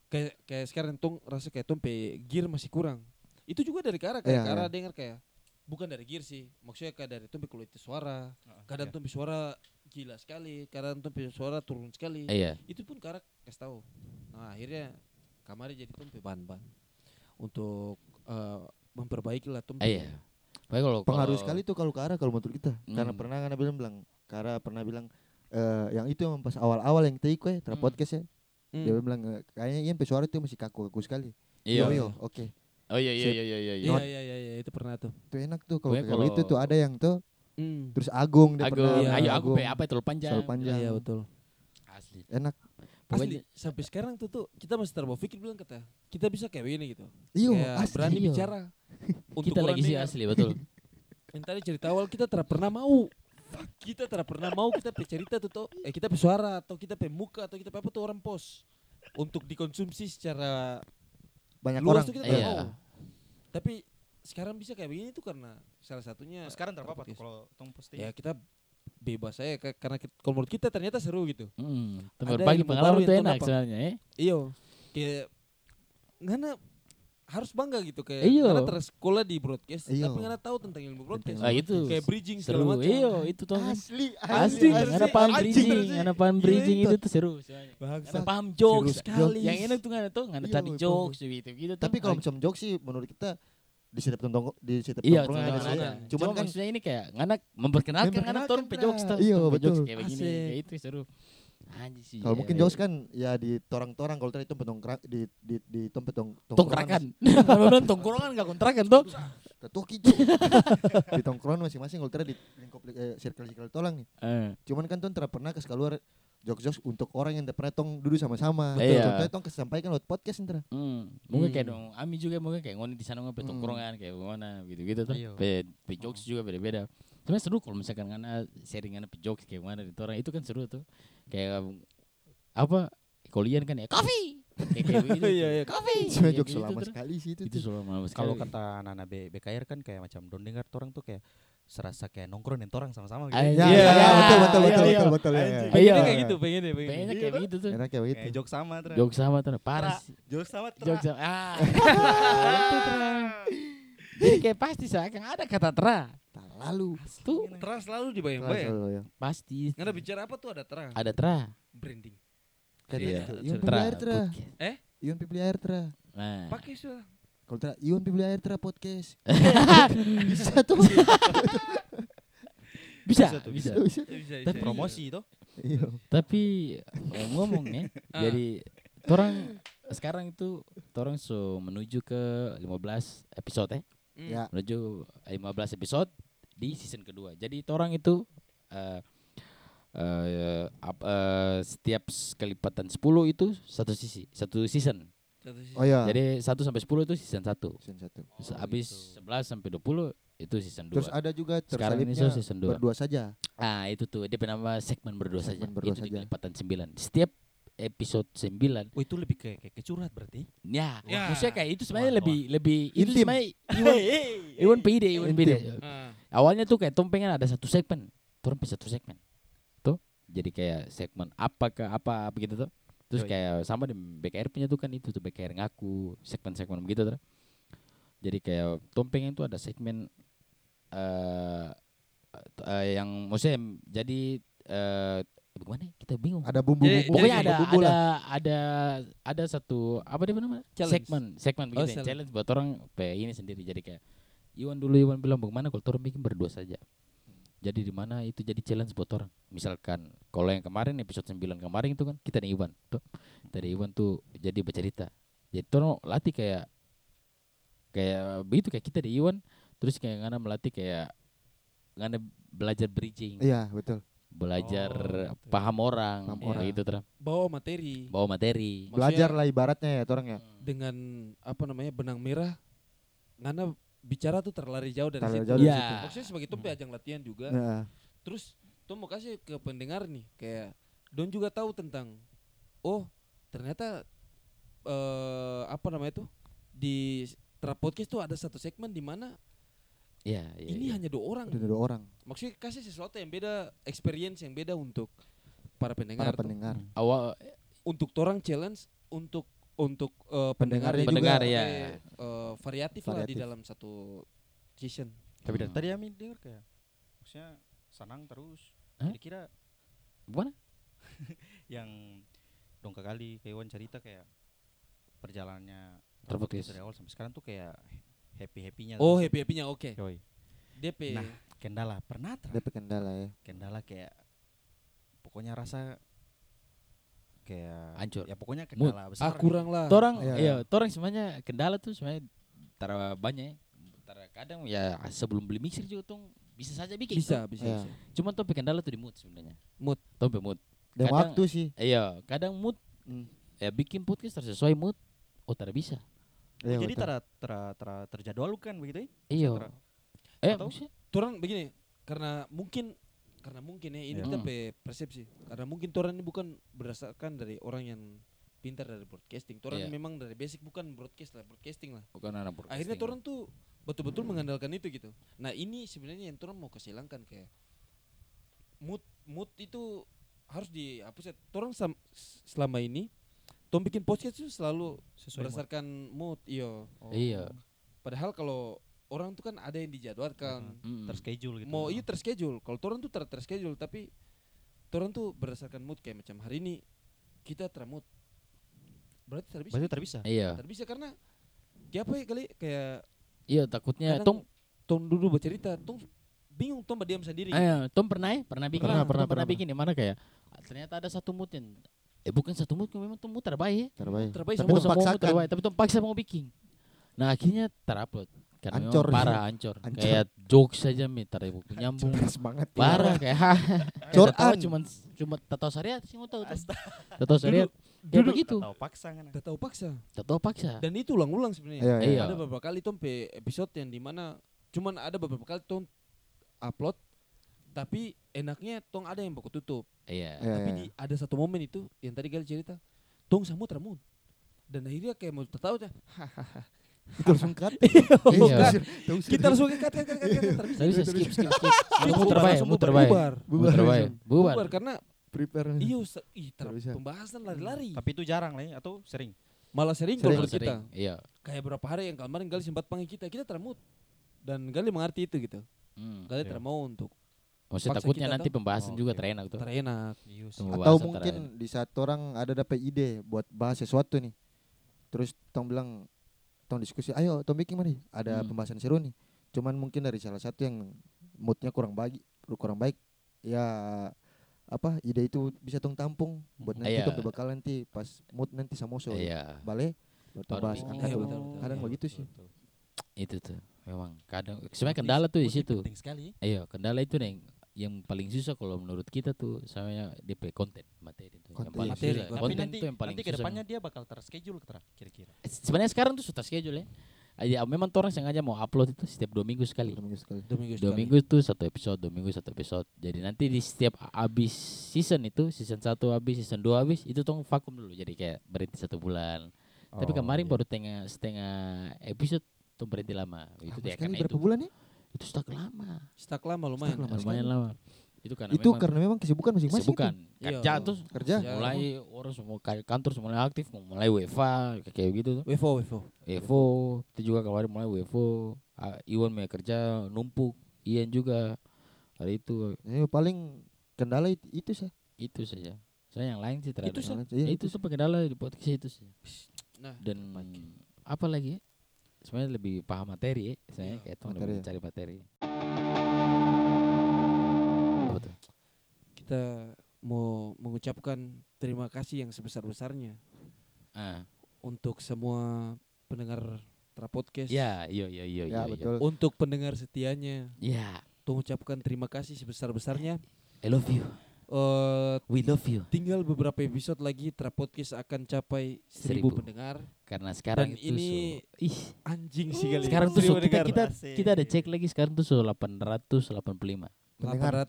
kayak kayak sekarang tuh rasa kayak tuh pe gear masih kurang itu juga dari Kara kayak Iya, Kara iya. dengar kayak bukan dari gear sih maksudnya kayak dari tuh pe kualitas suara Heeh, kadang iya. tuh pe suara gila sekali kadang tuh pe suara turun sekali Iya. itu pun Kara kasih tahu nah akhirnya kamari jadi tuh pe bahan-bahan untuk eh, memperbaiki lah tuh pe- Iya. Pokoknya kalau pengaruh kalau- sekali tuh kalau Kara kalau menurut kita karena Oh. Hmm. pernah karena bilang bilang Kara pernah bilang eh, yang itu yang pas awal-awal yang kita ikut ya, Hmm. podcast ya. Hmm. Dia bilang eh, kayaknya Ian pe suara itu masih kaku-kaku sekali. Iya. Yo, yo, oke. Oh iya iya Sip. iya iya iya. iya iya iya iya, itu pernah tuh Itu enak tuh kalau Pokoknya kayak itu kalau- tuh ada yang tuh Hmm. terus Agung dia Agung, pernah. Iya. ayo aku Agung. pe apa terlalu panjang. Terlalu panjang. iya betul Asli. Enak. Asli, sampai sekarang tuh tuh kita masih terbawa pikir bilang kata kita bisa kayak gini gitu. Iyo, Kayak asli. berani Iya. *laughs* bicara. Untuk kita orang lagi sih dengar. asli *laughs* betul. Yang tadi cerita awal kita tidak pernah mau. Kita tidak pernah mau kita pe cerita tuh tuh eh kita pe suara atau kita pe muka atau kita pe apa tuh orang pos untuk dikonsumsi secara Banyak luas orang. tuh kita oh, Iya. tidak mau. Tapi sekarang bisa kayak begini tuh karena salah satunya Oh, sekarang berapa tuh Podcast. kalau tong posting? ya kita bebas aja ka- karena kita, kalau menurut kita ternyata seru gitu. Hmm, tuh Ada berbagi ilmu pengalaman baru itu yang enak terdapat. sebenarnya. Eh? Iyo. Iya. Kayak ngana harus bangga gitu kayak Iyo. ngana tersekolah di broadcast Iyo. tapi ngana tahu tentang ilmu broadcast. Ah itu Kayak bridging segala seru. Iya, macam. Iyo itu tuh. Asli, Asli, asli, ada paham asli, bridging, asli. ada paham Iya, bridging itu. itu tuh seru. sebenarnya. Ada Bangsat. paham jokes Serius. sekali. sekali. Yang enak tuh nggak tuh nggak Iya, tadi woy, jokes gitu gitu. tuh. Tapi kalau Ah, macam jokes sih menurut kita di setiap tongkrong di setiap Iya, tongkrongan ada cuman, tongkrongan sih. ada. cuman Cuman kan maksudnya ini kayak nganak memperkenalkan nganak Memperkenalkan, turun pe jokes Tra. tuh. Iya, turun pe jokes betul. Kayak begini, Asik. kayak itu seru. Anjir sih. kalau iya, mungkin iya. jokes kan ya di torang-torang kalau tadi tempat tongkrong di di di tempat tong tongkrakan. *laughs* Beneran tongkrongan enggak kontrakan tuh. Toki tuh. *laughs* di tongkrongan masing-masing kalau tadi di lingkup eh, circle-circle tolong nih. Eh, Cuman kan tuh tidak pernah kes keluar jokes-jokes untuk orang yang tidak pernah tong duduk sama-sama. Betul. Contohnya tong kesampaikan lewat podcast ntar. Hmm. Mungkin kayak Hmm. dong Ami juga mungkin kayak ngoni di sana ngopi Hmm. tongkrongan kayak gimana gitu-gitu tuh. Iya. Pe, pe jokes juga beda-beda. Sebenarnya seru kalau misalkan ngana sharingan pe jokes kayak mana di orang itu kan seru tuh. Kayak apa? Kalian kan ya kopi. Kayak *laughs* kayak begitu. Iya, iya. Kopi. Cuma Kayak jokes gitu lama tuh. sekali kan sih itu. Itu tuh. selama sekali. Kalau kata Nana B BKR kan kayak macam don dengar orang tuh kayak serasa kayak nongkrong dengan orang sama-sama gitu. Ay, Ya, ya, Iya, ya, betul iya, betul betul iya, betul iya. betul. ya, ya. Anjing. Iya. Pengennya kayak gitu, pengennya, Pengennya pengennya. kayak gitu tuh. Enak kayak Kayak gitu. jok sama Tra. Jok sama tuh parah. sih. Jok sama Tra. Jok sama. Ah. *laughs* itu tra. Jadi kayak pasti saya akan ada kata tra. Lalu. Tuh Terang selalu Lalu, dibayang-bayang. lalu, ya. pasti Karena bicara apa tuh ada terang. ada tra. Branding. Kayak Iya, gitu. tra. Iwan Pibli Air Tra. Iwan Pibli Tra. podcast. Air Tra. Nah. Pakai sudah. Kalau Tra, Iwan Pibli Air Tra *laughs* podcast. Bisa tuh. Bisa, Bisa tuh, bisa. Bisa. Bisa, Tapi- bisa. Promosi itu. Iya. *laughs* Tapi eh, ngomong nih, Ah. jadi orang sekarang itu orang so menuju ke 15 episode eh. Hmm. Ya. menuju 15 episode di season kedua. Jadi orang itu eh eh, ap- eh, setiap s- kelipatan 10 itu satu sisi, satu season. Satu sisi. Oh iya. Jadi 1 sampai 10 itu season 1. Season satu. Terus habis 11 sampai 20 itu season 2. gitu. Terus ada juga Sekarang ini terselipnya so season 2. berdua saja. Ah, itu tuh dia penama segmen berdua saja. Segmen berdua itu di saja. kelipatan 9. Setiap episode 9 Oh, itu lebih kayak kayak curhat berarti. ya, Ya. maksudnya kayak itu sebenarnya Wah, lebih lebih itu Intim. *laughs* sebenarnya Iwan Iwan pide Iwan Intim. pide Ah. awalnya tuh kayak Tom pengen ada satu segmen turun bisa satu segmen tuh jadi kayak segmen apa ke apa begitu tuh terus Yoi. kayak sama di BKR punya tuh kan itu tuh BKR ngaku segmen-segmen begitu tuh jadi kayak Tom pengen tuh ada segmen eh eh, yang maksudnya yang jadi eh bagaimana ya? kita bingung Ada bumbu Jadi- bumbu. pokoknya ada bumbu ada, lah. ada ada satu apa dia namanya Challenge. segmen segmen Oh, begitu ya, challenge. challenge buat orang kayak ini sendiri jadi kayak Iwan dulu Iwan bilang bagaimana kalau orang bikin berdua saja jadi di mana itu jadi challenge buat orang misalkan kalau yang kemarin episode 9 kemarin itu kan kita nih Iwan tuh dari Iwan tuh jadi bercerita jadi Tono latih kayak kayak begitu kayak kita di Iwan terus kayak ngana melatih kayak ngana belajar bridging Iya, betul. belajar Oh, betul. paham orang Paham kayak orang. gitu Tra Bawa materi bawa materi. Maksudnya- Belajar lah ibaratnya ya orang ya. Hmm. dengan apa namanya benang merah. Karena bicara tuh terlari jauh dari Terlari situ. jauh dari Iya. situ. Maksudnya sebagai tuh ajang latihan juga. Nah, Terus tuh mau kasih ke pendengar nih kayak Don juga tahu tentang oh ternyata eh apa namanya tuh di Tra podcast tuh ada satu segmen di mana Iya, iya. ini iya. hanya dua orang. ada dua orang Maksudnya kasih sesuatu yang beda, experience yang beda untuk para pendengar. para tuh. pendengar. awal Untuk orang challenge untuk untuk eh, Pendengar pendengarnya pendengar, juga, ya. eh, eh, variatif, lah di Variatif. dalam satu season. Tapi dari Hmm. tadi Amin dengar kayak maksudnya senang terus. Hah? Jadi kira gimana? yang dongka kali kayak Iwan cerita kayak perjalanannya Terputus. dari awal sampai sekarang tuh kayak happy Iya, happynya Oh happy happynya oke. Yoi. DP. Nah, kendala pernah Ada Tra? kendala ya. kendala kayak pokoknya rasa kayak Hancur. ya pokoknya Mood. kendala besar gitu. ah kurang lah. Torang Iya. iya, torang sebenarnya kendala tuh sebenarnya tara banyak. ya. Tara kadang ya sebelum beli mixer juga tuh bisa saja bikin. Bisa, tuh. bisa, Iya. bisa. Cuman tuh kendala tuh di mood sebenarnya. Mood. Tuh pe mood. Dan Kadang- waktu sih. Iya, kadang mood Hmm. ya bikin podcast harus sesuai mood. Oh, tara bisa. Oh, Iya, jadi betul. tara tara tara terjadwal kan begitu ya? Iya. Tara- Eh, Atau- maksudnya? Torang begini, karena mungkin karena mungkin ya ini Iya. kita Hmm. pe persepsi. Karena mungkin torang ini bukan berdasarkan dari orang yang pintar dari broadcasting. Torang Iya. memang dari basic bukan broadcast lah, broadcasting lah. bukan anak broadcasting. Hmm. Akhirnya torang tuh betul-betul mengandalkan itu gitu. Nah, ini sebenarnya yang torang mau kesilangkan kayak mood mood itu harus dihapus. ya. Torang sam- s- selama ini Tom bikin podcast itu selalu sesuai mood. berdasarkan mood, iyo. Oh, Iya. Padahal kalau orang tuh kan ada yang dijadwalkan. Mm-mm. terschedule gitu mau Ah. itu terschedule kalau turun tuh ter terschedule tapi turun tuh berdasarkan mood kayak macam hari ini kita termood berarti terbisa berarti terbisa Iya. terbisa karena kayak apa ya kali kayak Iya, takutnya kadang Tom Ya, Tom dulu bercerita Tom bingung Tom berdiam sendiri Ayo, Tom pernah ya? Pernah bikin? Pernah, Tom pernah, pernah. bikin di mana kayak ah, ternyata ada satu mood yang eh bukan satu mood memang Tom mood terbaik ya. Terbaik. terbaik Tapi sama Mau Tom sama mood paksakan. terbaik, tapi Tom paksa mau bikin. Nah, akhirnya terupload karena memang Ancor. parah ancor. Ancor. Kayak jokes saja mi tarik nyambung. semangat. ya. parah kayak *laughs* Coran. tahu cuman cuma tato syariat sih mau tahu tuh. Tato syariat kayak duduk. Ya, begitu. atau paksa kan tak tahu paksa Tato paksa. dan itu ulang-ulang sebenarnya Iya, iya. Iya. ada beberapa kali Tom pe episode yang dimana cuman ada beberapa kali Tom upload tapi enaknya Tom ada yang baku tutup Iya. Iya, tapi iya. di, ada satu momen itu yang tadi kali cerita tong samu teramun dan akhirnya kayak mau tertawa dah Itu langsung cut. Iya. Kita langsung "Eh, ikat ikat ikat ikat ikat. Tapi bisa skip skip skip. Langsung muter bubar, bae, langsung muter bubar, bae. bubar. bubar. Muter bae. Bubar. Bubar kan? karena Prepare. iya Ustaz, ih, ter- Nggak Hmm. bisa. pembahasan lari-lari. Tapi itu jarang lah ya, atau sering. Malah sering kalau Sering, Bubar menurut kita. sering. Iya. Kayak berapa hari yang kemarin Gali sempat panggil kita, kita teramut. Dan Gali mengerti itu gitu. Hmm. Gali Iya. teramau untuk Maksudnya Paksa takutnya kita nanti tahu. pembahasan Oh, juga oke. terenak tuh. terenak. Iya sih. Tunggu Atau bahasan terenak. mungkin di satu orang ada dapat ide buat bahas sesuatu nih. Terus tong bilang tong diskusi, ayo tong bikin mana? nih? Ada Hmm. pembahasan seru nih. Cuman mungkin dari salah satu yang moodnya kurang baik, kurang baik. Ya apa ide itu bisa tong tampung buat nanti Iya. tong bakal nanti pas mood nanti samoso Iya, balik baru tong Baru bahas bikin. angkat Iya, dulu. betul, betul. kadang Iya, begitu sih itu tuh. Memang kadang sebenarnya kendala tuh di Mood ini situ. Penting sekali. Iya, kendala itu neng yang paling susah kalau menurut kita tuh sama DP konten materi tuh. Konten, yang paling iya. Materi, susah. konten. Tapi konten nanti tuh yang paling nanti susah. kedepannya dia bakal terschedule Tra, kira-kira. memang. sebenarnya sekarang tuh sudah schedule ya. Ya, memang orang sengaja mau upload itu setiap dua minggu sekali. Dua minggu sekali. Dua minggu Dua sekali. minggu tuh satu episode, dua minggu satu episode. Jadi nanti di setiap abis season itu, season satu abis, season dua abis, itu tuh vakum dulu. Jadi kayak berhenti satu bulan. Oh, Tapi kemarin iya. baru tengah setengah episode tuh berhenti lama. Itu Lama dia sekali karena berapa itu, bulan ya? itu stuck lama, Stuck lama lumayan. Stuck lama. lumayan sekali. lama. Itu karena itu memang karena memang kesibukan masing-masing. itu. bukan Iya. kerja tuh Kerja. Ya, mulai orang semua kayak kantor semua mulai aktif mau mulai WFA kayak- kayak gitu tuh. Wevo, Wevo. WFO itu juga kemarin mulai WFO Ah, Iwan mulai kerja numpuk Ian juga hari itu Ya, paling kendala itu, itu sih. itu saja saya yang lain sih terhadap Itu saja. Iya, itu tuh kendala di podcast itu sih Nah, dan apa lagi ya? sebenarnya lebih paham materi ya Iya, saya kayak tuh materi lebih ya. cari materi Betul. kita mau mengucapkan terima kasih yang sebesar-besarnya ah untuk semua pendengar Tra Podcast. ya iya iya ya, iya iya iya. betul. Untuk pendengar setianya, ya tuh ucapkan terima kasih sebesar-besarnya. I love you Eh, we love you tinggal beberapa episode lagi Tra Podcast akan capai 1000 Seribu. pendengar. karena sekarang Dan itu ini so, ih Anjing sih kali. sekarang tuh so, Seribu kita pendengar. kita Asik. kita ada cek lagi sekarang tuh so 885 Pendengar.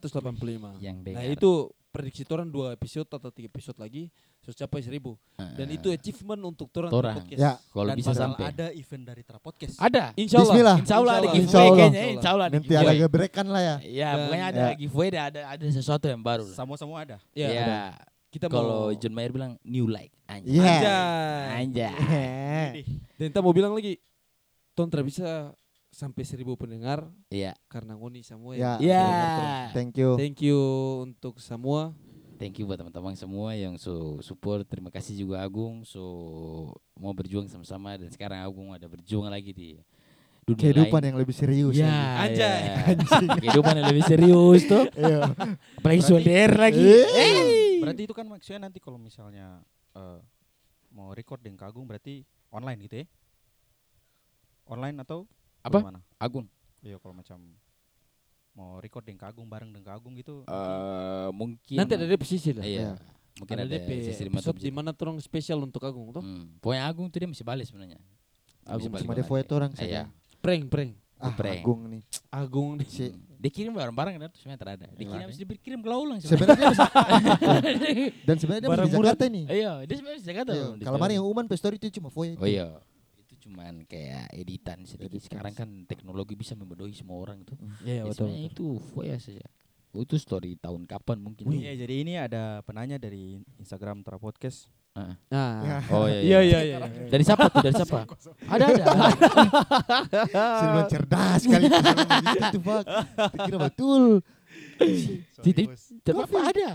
885. yang Nah, dengar itu prediksi orang dua episode atau tiga episode lagi sudah capai 1000 dan Ah, itu achievement untuk orang Torang. podcast. Ya. kalau Dan bisa bakal sampai ada event dari Tra Podcast. ada Insya Allah. Bismillah. Insya Allah ada Insya giveaway Allah. kayaknya Insya Insya Allah ada Nanti ada giveaway. gebrekan lah ya. Ya, Dan- pokoknya ada Ya. giveaway dan ada ada sesuatu yang baru lah. Sama-sama ada. Ya, Ya, ada. kita mau kalau John Mayer bilang new like anjay. Iya. Anjay. Anjay. Dan kita mau bilang lagi Ton tidak bisa sampai 1000 pendengar Iya. karena ngoni semua ya. Ya. Iya. Thank you. Thank you untuk semua. Thank you buat teman-teman semua yang so support. Terima kasih juga Agung so mau berjuang sama-sama dan sekarang Agung ada berjuang lagi di dunia Kehidupan lain. yang lebih serius. Ya, *laughs* Anjay. ya. Kehidupan yang lebih *laughs* serius tuh. Iya. Apalagi Berarti- sonder lagi. Eh. Berarti itu kan maksudnya nanti kalau misalnya eh, mau record dengan Kagung berarti online gitu ya? Online atau Apa? Mana? Agung, Iya kalau macam mau record dengan Kagung bareng dengan Kagung gitu. eh, mungkin Nanti ada DP lah. Iya. Ya. Mungkin Ada ada, DP sesi lima episode atau di mana orang spesial untuk Agung tuh. Hmm. Pokoknya Agung tuh dia masih balik sebenarnya. Dia Agung masih Cuma balik, dia foto orang balik. Iya. saja. Prank, prank. Ah, Geprek. Agung nih. Agung nih. Si Hmm. Dia kirim barang-barang kan tuh sebenarnya terada. Dia kirim Iya. habis dikirim ke Laulang sebenarnya. *laughs* sebenarnya bisa- dan sebenarnya dia masih Barang di murah. Jakarta nih. Iya, dia sebenarnya bisa kata. Iya, Kalau mana yang Uman Pestori itu cuma foya itu. *laughs* Oh iya. Itu cuman kayak editan sedikit. Editan. Sekarang kan teknologi bisa membodohi semua orang tuh. Iya, Ya, betul. sebenarnya itu foya saja. Oh, itu story tahun kapan mungkin. tuh. Iya jadi ini ada penanya dari Instagram Tra Podcast. Ya. Ah. Nah. Oh Iya, iya, iya. Dari siapa tuh? Dari siapa? ada ada. Siluman cerdas *laughs* kali itu. siluman gitu tuh, Pak. Pikir betul. Sorry, Tetap ada.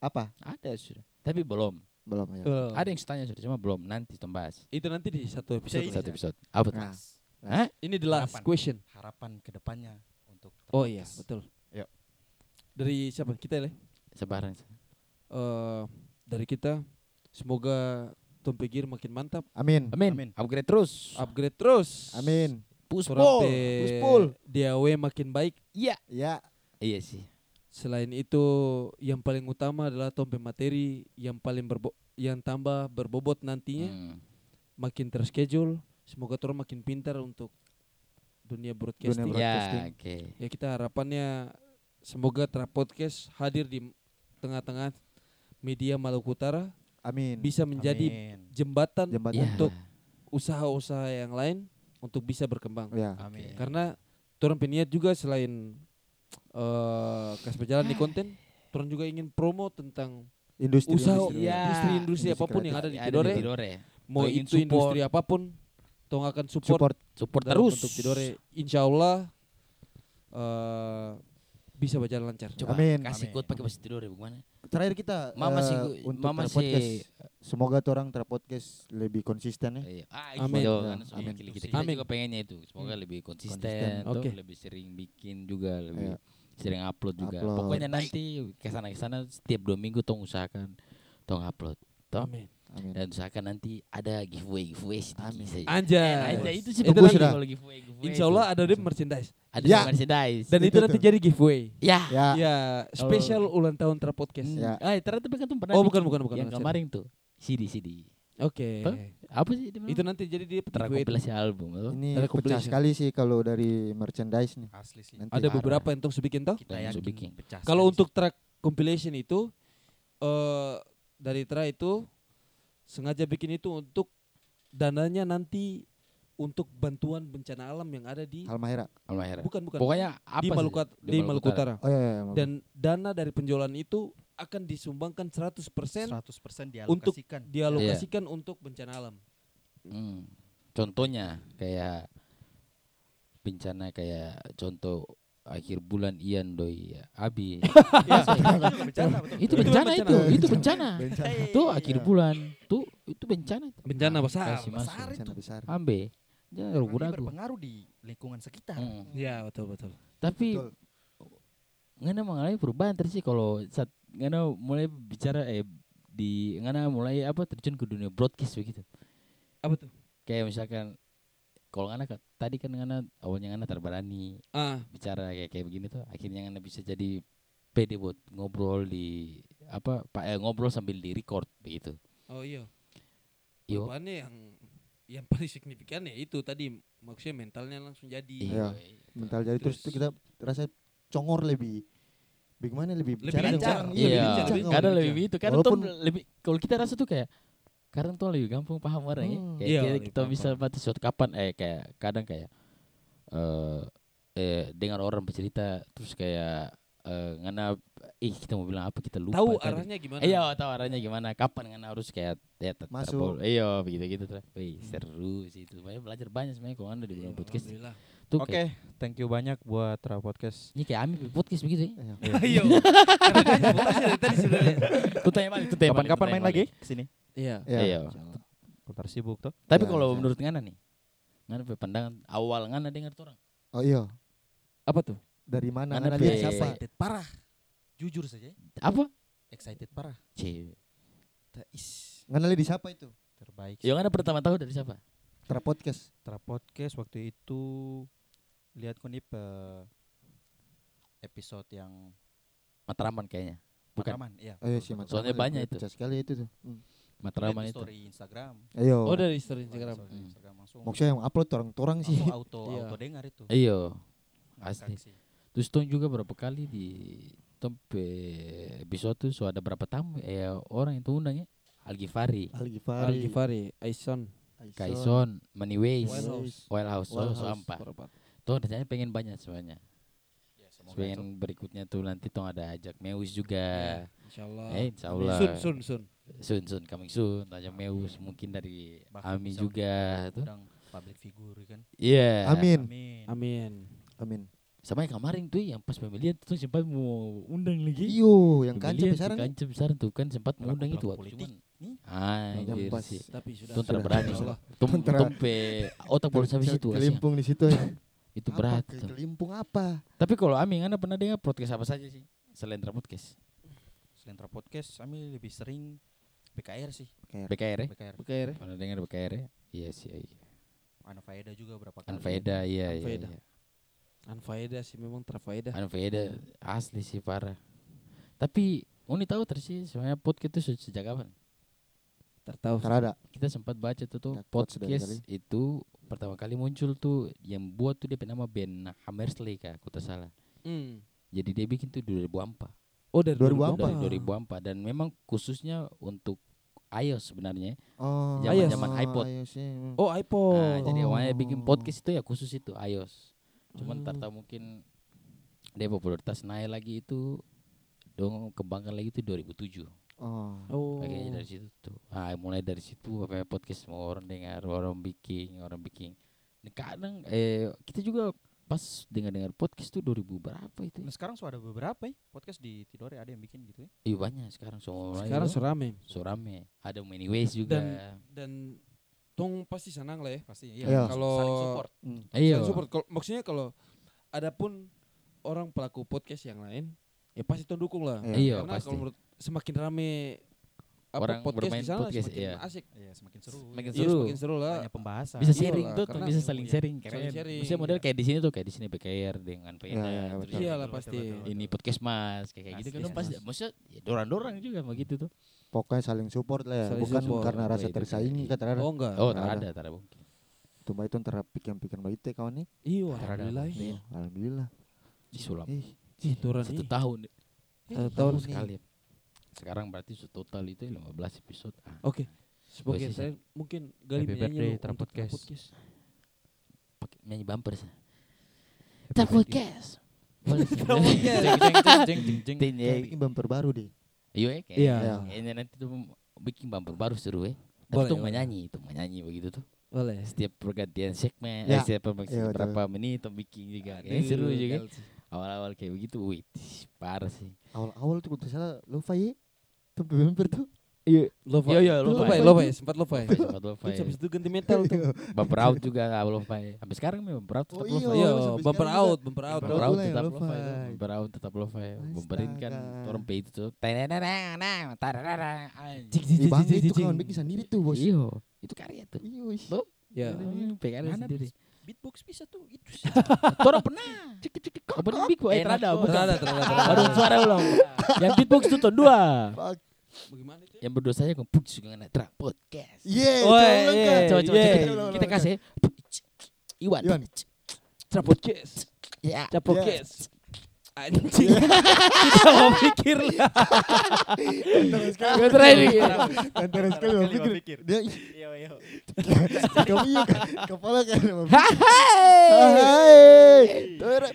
Apa? Ada sudah. Tapi belum. Belum ya. Tuh. Ada yang tanya sudah cuma belum. Nanti tombas. Itu nanti di satu episode. Iya. Satu episode. Apa tuh? Nah, Hah? Ini the last Harapan. question. Harapan kedepannya untuk Tra Oh iya, Podcast. betul. Ya. Yuk. Dari siapa? Kita ya. Sebarang. Eh, dari kita semoga Tom Pegir makin mantap, Amin. Amin. Amin. Upgrade terus. upgrade terus. Amin. Kurang pe puspul. DAW makin baik. Iya. Ya, Iya sih. Selain itu, yang paling utama adalah tompe materi yang paling berbo yang tambah berbobot nantinya, Hmm. makin terschedule. Semoga orang makin pintar untuk dunia broadcasting. Dunia Broadcasting. Ya, oke. Ya kita harapannya semoga Tra Podcast hadir di tengah-tengah media Maluku Utara amin. bisa menjadi Amin. jembatan Jembatan Ya. untuk usaha-usaha yang lain untuk bisa berkembang. ya Amin. Karena turun peniat juga selain eh kas berjalan di konten, turun juga ingin promo tentang industri usaha industri, Iya. industri-industri Industri apapun yang ada Ada di di Tidore, Tidore. mau Lo ingin itu industri apapun, tong akan support, support Support dalam terus. untuk Tidore. Insya Allah eh, bisa berjalan lancar. Coba Amin. kasih Amin. code pakai bahasa Tidore bagaimana? terakhir kita eh, Mama sih gua- untuk mama Tera sih- podcast semoga tuh orang terpodcast lebih konsisten ya Iya. Ah, Amin. gitu. Ya, Karena soalnya amin. Kita, kita Amin. juga pengennya itu. Semoga lebih konsisten, Konsisten. tuh, Oke. lebih sering bikin juga, lebih Iya. sering upload juga. Upload. Pokoknya nanti kesana kesana setiap dua minggu tong usahakan tong upload. Toh. Amin. amin Dan usahakan nanti ada giveaway giveaway sedikit Amin. saja. Anjay. Aja Eh, nah, itu sih Itu bagus nanti- kalau giveaway giveaway. Insya Allah ada deh merchandise. itu. ada Ya. merchandise. Dan itu Itu nanti tuh. jadi giveaway. ya. ya Ya, Kalau- spesial ulang tahun Tra Podcast. Ya. Ah, ternyata bukan tuh pernah. Oh, bikin bukan bukan bukan. Yang bukan, kemarin tuh CD CD. sorry. Oke. Apa? Apa sih dia bilang? Itu nanti jadi dia giveaway. terkompilasi album tuh. ini Ada pecah compilation. sekali sih kalau dari merchandise nih Asli sih. Nanti. Ada Parah. beberapa yang tuh bikin toh. Kita Dan yakin Zubiking. pecah. Kalau sekali untuk track compilation itu eh dari Tra itu sengaja bikin itu untuk dananya nanti untuk bantuan bencana alam yang ada di Halmahera Almahera. bukan bukan Pokoknya apa di sih? Maluku di Maluku Utara. oh iya, iya, maaf. Dan dana dari penjualan itu akan disumbangkan sih. 100% 100% untuk dialokasikan. dialokasikan untuk bencana alam. Hmm. Contohnya kayak bencana kayak contoh akhir bulan Ian doi Abi. Ya, Itu bencana, betul. *laughs* itu Itu bencana bencana. itu, itu bencana. *laughs* bencana Itu akhir bulan, tuh itu bencana. bencana Nah, besar. kasih besar masuk. bencana besar Ambe. Ya Berarti ragu-ragu. berpengaruh di lingkungan sekitar. Hmm. Ya, betul betul. Tapi Betul. ngana mengalami perubahan terus sih kalau saat ngana mulai bicara eh di ngana mulai apa terjun ke dunia broadcast begitu. Apa tuh? Kayak misalkan kalau ngana kan- tadi kan ngana awalnya ngana terberani Ah, bicara kayak kayak begini tuh akhirnya ngana bisa jadi pede buat ngobrol di apa pak eh, ngobrol sambil di record begitu. oh iya. Yo. Perubahannya yang yang paling signifikan ya itu tadi maksudnya mentalnya langsung jadi. Iya. mental jadi terus, Terus. tuh kita rasa congor lebih bagaimana lebih Lebih bicara lincah. orang, Iya, Iya, lebih ngomong. lincah. kadang lebih itu kadang tuh Walaupun- lebih kalau kita rasa tuh kayak kadang tuh lebih gampang paham orang ya. Hmm. Kayak Iya, kita- lebih kita gampang. bisa batas suatu kapan eh kayak kadang kayak eh eh dengar orang bercerita terus kayak eh ngana ih kita mau bilang apa kita lupa. Tahu tadi. arahnya gimana? Iya, tahu arahnya gimana, kapan ngana harus kayak ya ter- Masuk. terpol- Iya, begitu-gitu tuh. Wih, seru sih itu. Banyak belajar banyak sebenarnya kalau anda di Hmm. Iya, dalam podcast Alhamdulillah. tuh Oke, kayak thank you banyak buat Ra Podcast. ini kayak Ami punya podcast begitu ya. Iya. Ayo. Karena dia hanya fokusnya dari tadi sebenarnya. Tuh tanya balik, tuh tanya balik, Kapan-kapan tuh tanya main balik. lagi kesini. Iya. Iya. Iya. Insyaallah. Bentar sibuk tuh. Ya, Tapi kalau bisa. menurut ngana nih, ngana punya pandangan awal ngana dengar tuh orang. Oh iya, Apa tuh? dari mana? Mana Mana Iya, dari iya, siapa? Excited parah. Jujur saja, Apa? excited parah. Cie. Tais. Mana dari siapa itu? Terbaik. Yang ngana pertama tahu dari siapa? Tra podcast. Tra Podcast waktu itu lihat kok nih pe- episode yang Matraman kayaknya. Bukan. Matraman, iya. Oh iya betul, sih, betul. Matraman Soalnya juga banyak itu. Pecah sekali itu tuh. Hmm. Matraman Lihat di itu. story Instagram. Ayo. Oh dari story Lihat Instagram. di story Hmm. Instagram langsung. Maksudnya yang upload orang-orang sih. langsung auto Iya. auto dengar itu. Iya. Ngakak Asli. sih. Terus tong juga berapa kali di tempe episode tuh so ada berapa tamu eh orang yang tuh undang ya? Algifari, Al Ghifari, Al Ghifari, Aison, Kaison, Maniways, Winehouse. Wellhouse, so Winehouse. so empat. Tuh rencananya pengen banyak semuanya. Ya, Pengen berikutnya tuh nanti tong ada ajak Mewis juga. Iya. Insyaallah. Eh, insyaallah. Sun sun sun. Soon soon coming soon Tajam Meus mungkin dari Bahkan Ami bisa juga tuh. Undang public figure kan. Iya. Amin. Amin. Amin. Amin. Sama yang kemarin tuh yang pas pemilihan tuh sempat mau undang lagi. Iyo, yang kancil Pemilihan besar tuh nih. kancil besar tuh kan sempat mau undang itu Pelaku-pelaku waktu politik. cuman. Ah, Yang anjir pas. *laughs* sih. Tapi sudah. Tuh Sudah. berani Insyaallah. Tum Tuh tera- tumpe otak baru sampai situ kasihan. Kelimpung di situ ya. Apa? *laughs* Itu gitu? berat Ke- tuh. Kelimpung apa? Tapi kalau Ami Anda pernah dengar podcast apa saja sih? Selain Tra podcast. Selain Tra Podcast, kami lebih sering BKR sih. BKR ya? BKR. Oke, Re. Pernah dengar BKR ya? Iya sih. Iya. Anfaeda juga berapa kali. Anfaeda iya iya. Anfaedah. iya. Anfaedah sih memang terfaedah. Anveda asli sih parah. Tapi Uni tahu terus sih sebenarnya podcast itu se- sejak kapan? Tertahu. Karada. Kita sempat baca tuh tuh Sejak pot sudah podcast itu pertama kali muncul tuh yang buat tuh dia nama Ben Hammersley kah, aku tak salah. Hmm. Jadi dia bikin tuh di 2004. Oh dari 2004. Dari Wah. 2004 dan memang khususnya untuk iOS sebenarnya. Oh, Zaman-zaman iPod. iOS-nya, hmm. Oh iPod. Nah, jadi awalnya bikin Oh. podcast itu ya khusus itu iOS. Cuman Hmm. ternyata mungkin dia popularitas naik lagi itu dong kembangkan lagi itu 2007. Oh. oh. Kayaknya dari situ tuh. Ah, mulai dari situ apa ya, podcast semua orang dengar, orang bikin, orang bikin. Dan kadang eh kita juga pas dengar-dengar podcast tuh 2000 berapa itu? Nah, sekarang sudah ada beberapa ya podcast di Tidore ada yang bikin gitu ya. Iya banyak sekarang semua orang Sekarang itu. surame. Surame. Ada many ways juga. Dan tong pasti senang lah ya. Pasti Iya. Kalau- saling support. Hmm. Iya. Saling support. Kalau- maksudnya kalau ada pun orang pelaku podcast yang lain, ya pasti tong dukung lah. Iya. Iya, Karena pasti. kalau menurut semakin rame apa Orang podcast bermain di sana podcast, semakin iya. asik. Iya, semakin seru. Semakin Iya, seru. semakin seru lah. Banyak pembahasan. bisa Iya sharing lah, tuh, karena bisa ilmu, saling iya. sharing Saling keren. sharing, Maksudnya model iya. kayak di sini tuh kayak di sini PKR dengan pena. Iya, iya, terus betul. Iya lah, Betul, pasti. betul, betul, Ini betul. podcast mas kayak kayak gitu kan Pasti, dong, pasti. pasti. Maksudnya ya, dorang-dorang juga begitu tuh. Pokoknya saling support lah ya. Saling Bukan support. karena Wah, rasa itu tersaingi keren. kan terhadap Oh enggak. Oh, nggak tak ada. ada, tak ada mungkin. Tumba itu terhadap pikiran-pikiran baik teh kawan nih. Iya, Terhadap alhamdulillah. Iya. Alhamdulillah. Disulam. Ih, Ih, turun Satu ih. tahun. satu Eh, Tahun tahun nih. sekali. Sekarang berarti total itu 15 episode. Ah, Oke. Sebagai Posisi. terakhir, mungkin Gali Happy menyanyi birthday, dulu Tra untuk Tra Podcast. podcast. pakai nyanyi bumper sih. Tak podcast. Jeng, jeng, jeng, jeng, jeng, jeng. Ini bumper baru deh. eh. Iya, eh, Iya. kayaknya kayaknya nanti tuh bikin bumper baru seru ya. Tapi Boleh, tuh boleh. menyanyi, tuh menyanyi begitu tuh. Boleh. setiap pergantian segmen Ya. eh, setiap pem- Iya, betul. berapa menit atau bikin juga Iya, kayaknya seru juga awal-awal kayak begitu wih parah sih Awal-awal tuh kalau salah lupa ya. Tuh bumper tuh. Lova. Iya, iya, Lova. Lova. Lova ya, sempat Lova ya. Sampai sempat *laughs* lupa Terus ya. habis itu ganti metal tuh. Iya. bumper out juga awal lupa ya. sampai sekarang memang bumper out tetap Oh, lupa Iya, sampai sekarang bumper juga. out, bumper out. Bumper bumper out out lah yang tetap lupa lupa ya. ya. bumper out tetap lupa ya. bumperin kan Astaga. orang pay itu tuh teneneneneneng, tarararang, anjing. Cik, cik, Di Iya. cik, bangga cik, itu kan cik. kawan bikin sendiri tuh bos. iyo itu karya tuh Iya. ih. Ya. PKR Mana sendiri Beatbox bisa tuh itu. *laughs* orang pernah cik cik cik apa nih big eh Enak, terada Bos. bukan Terada, terada, baru suara ulang yang beatbox itu tuh dua Fuck. Bagaimana itu? yang berdua saya kempuk juga kena trap podcast. Nah, Yeah, Woi, coba ulang, yeah, Kak. Coba coba yeah. kita, kita kasih iya. Iwan. Iwan. Tra podcast. Ya. Tra podcast. Anjing. Kita mau pikir lah. Tantangan sekali. Gua try *laughs* nih. Tantangan sekali mau pikir. pikir. Dia ih, Iya, *laughs* iya. kamu iya Kak. kepala *laughs* kan. Ah, mau pikir. Hai. *laughs* Hai. Tuh, rap.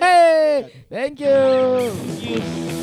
Hai. Thank you.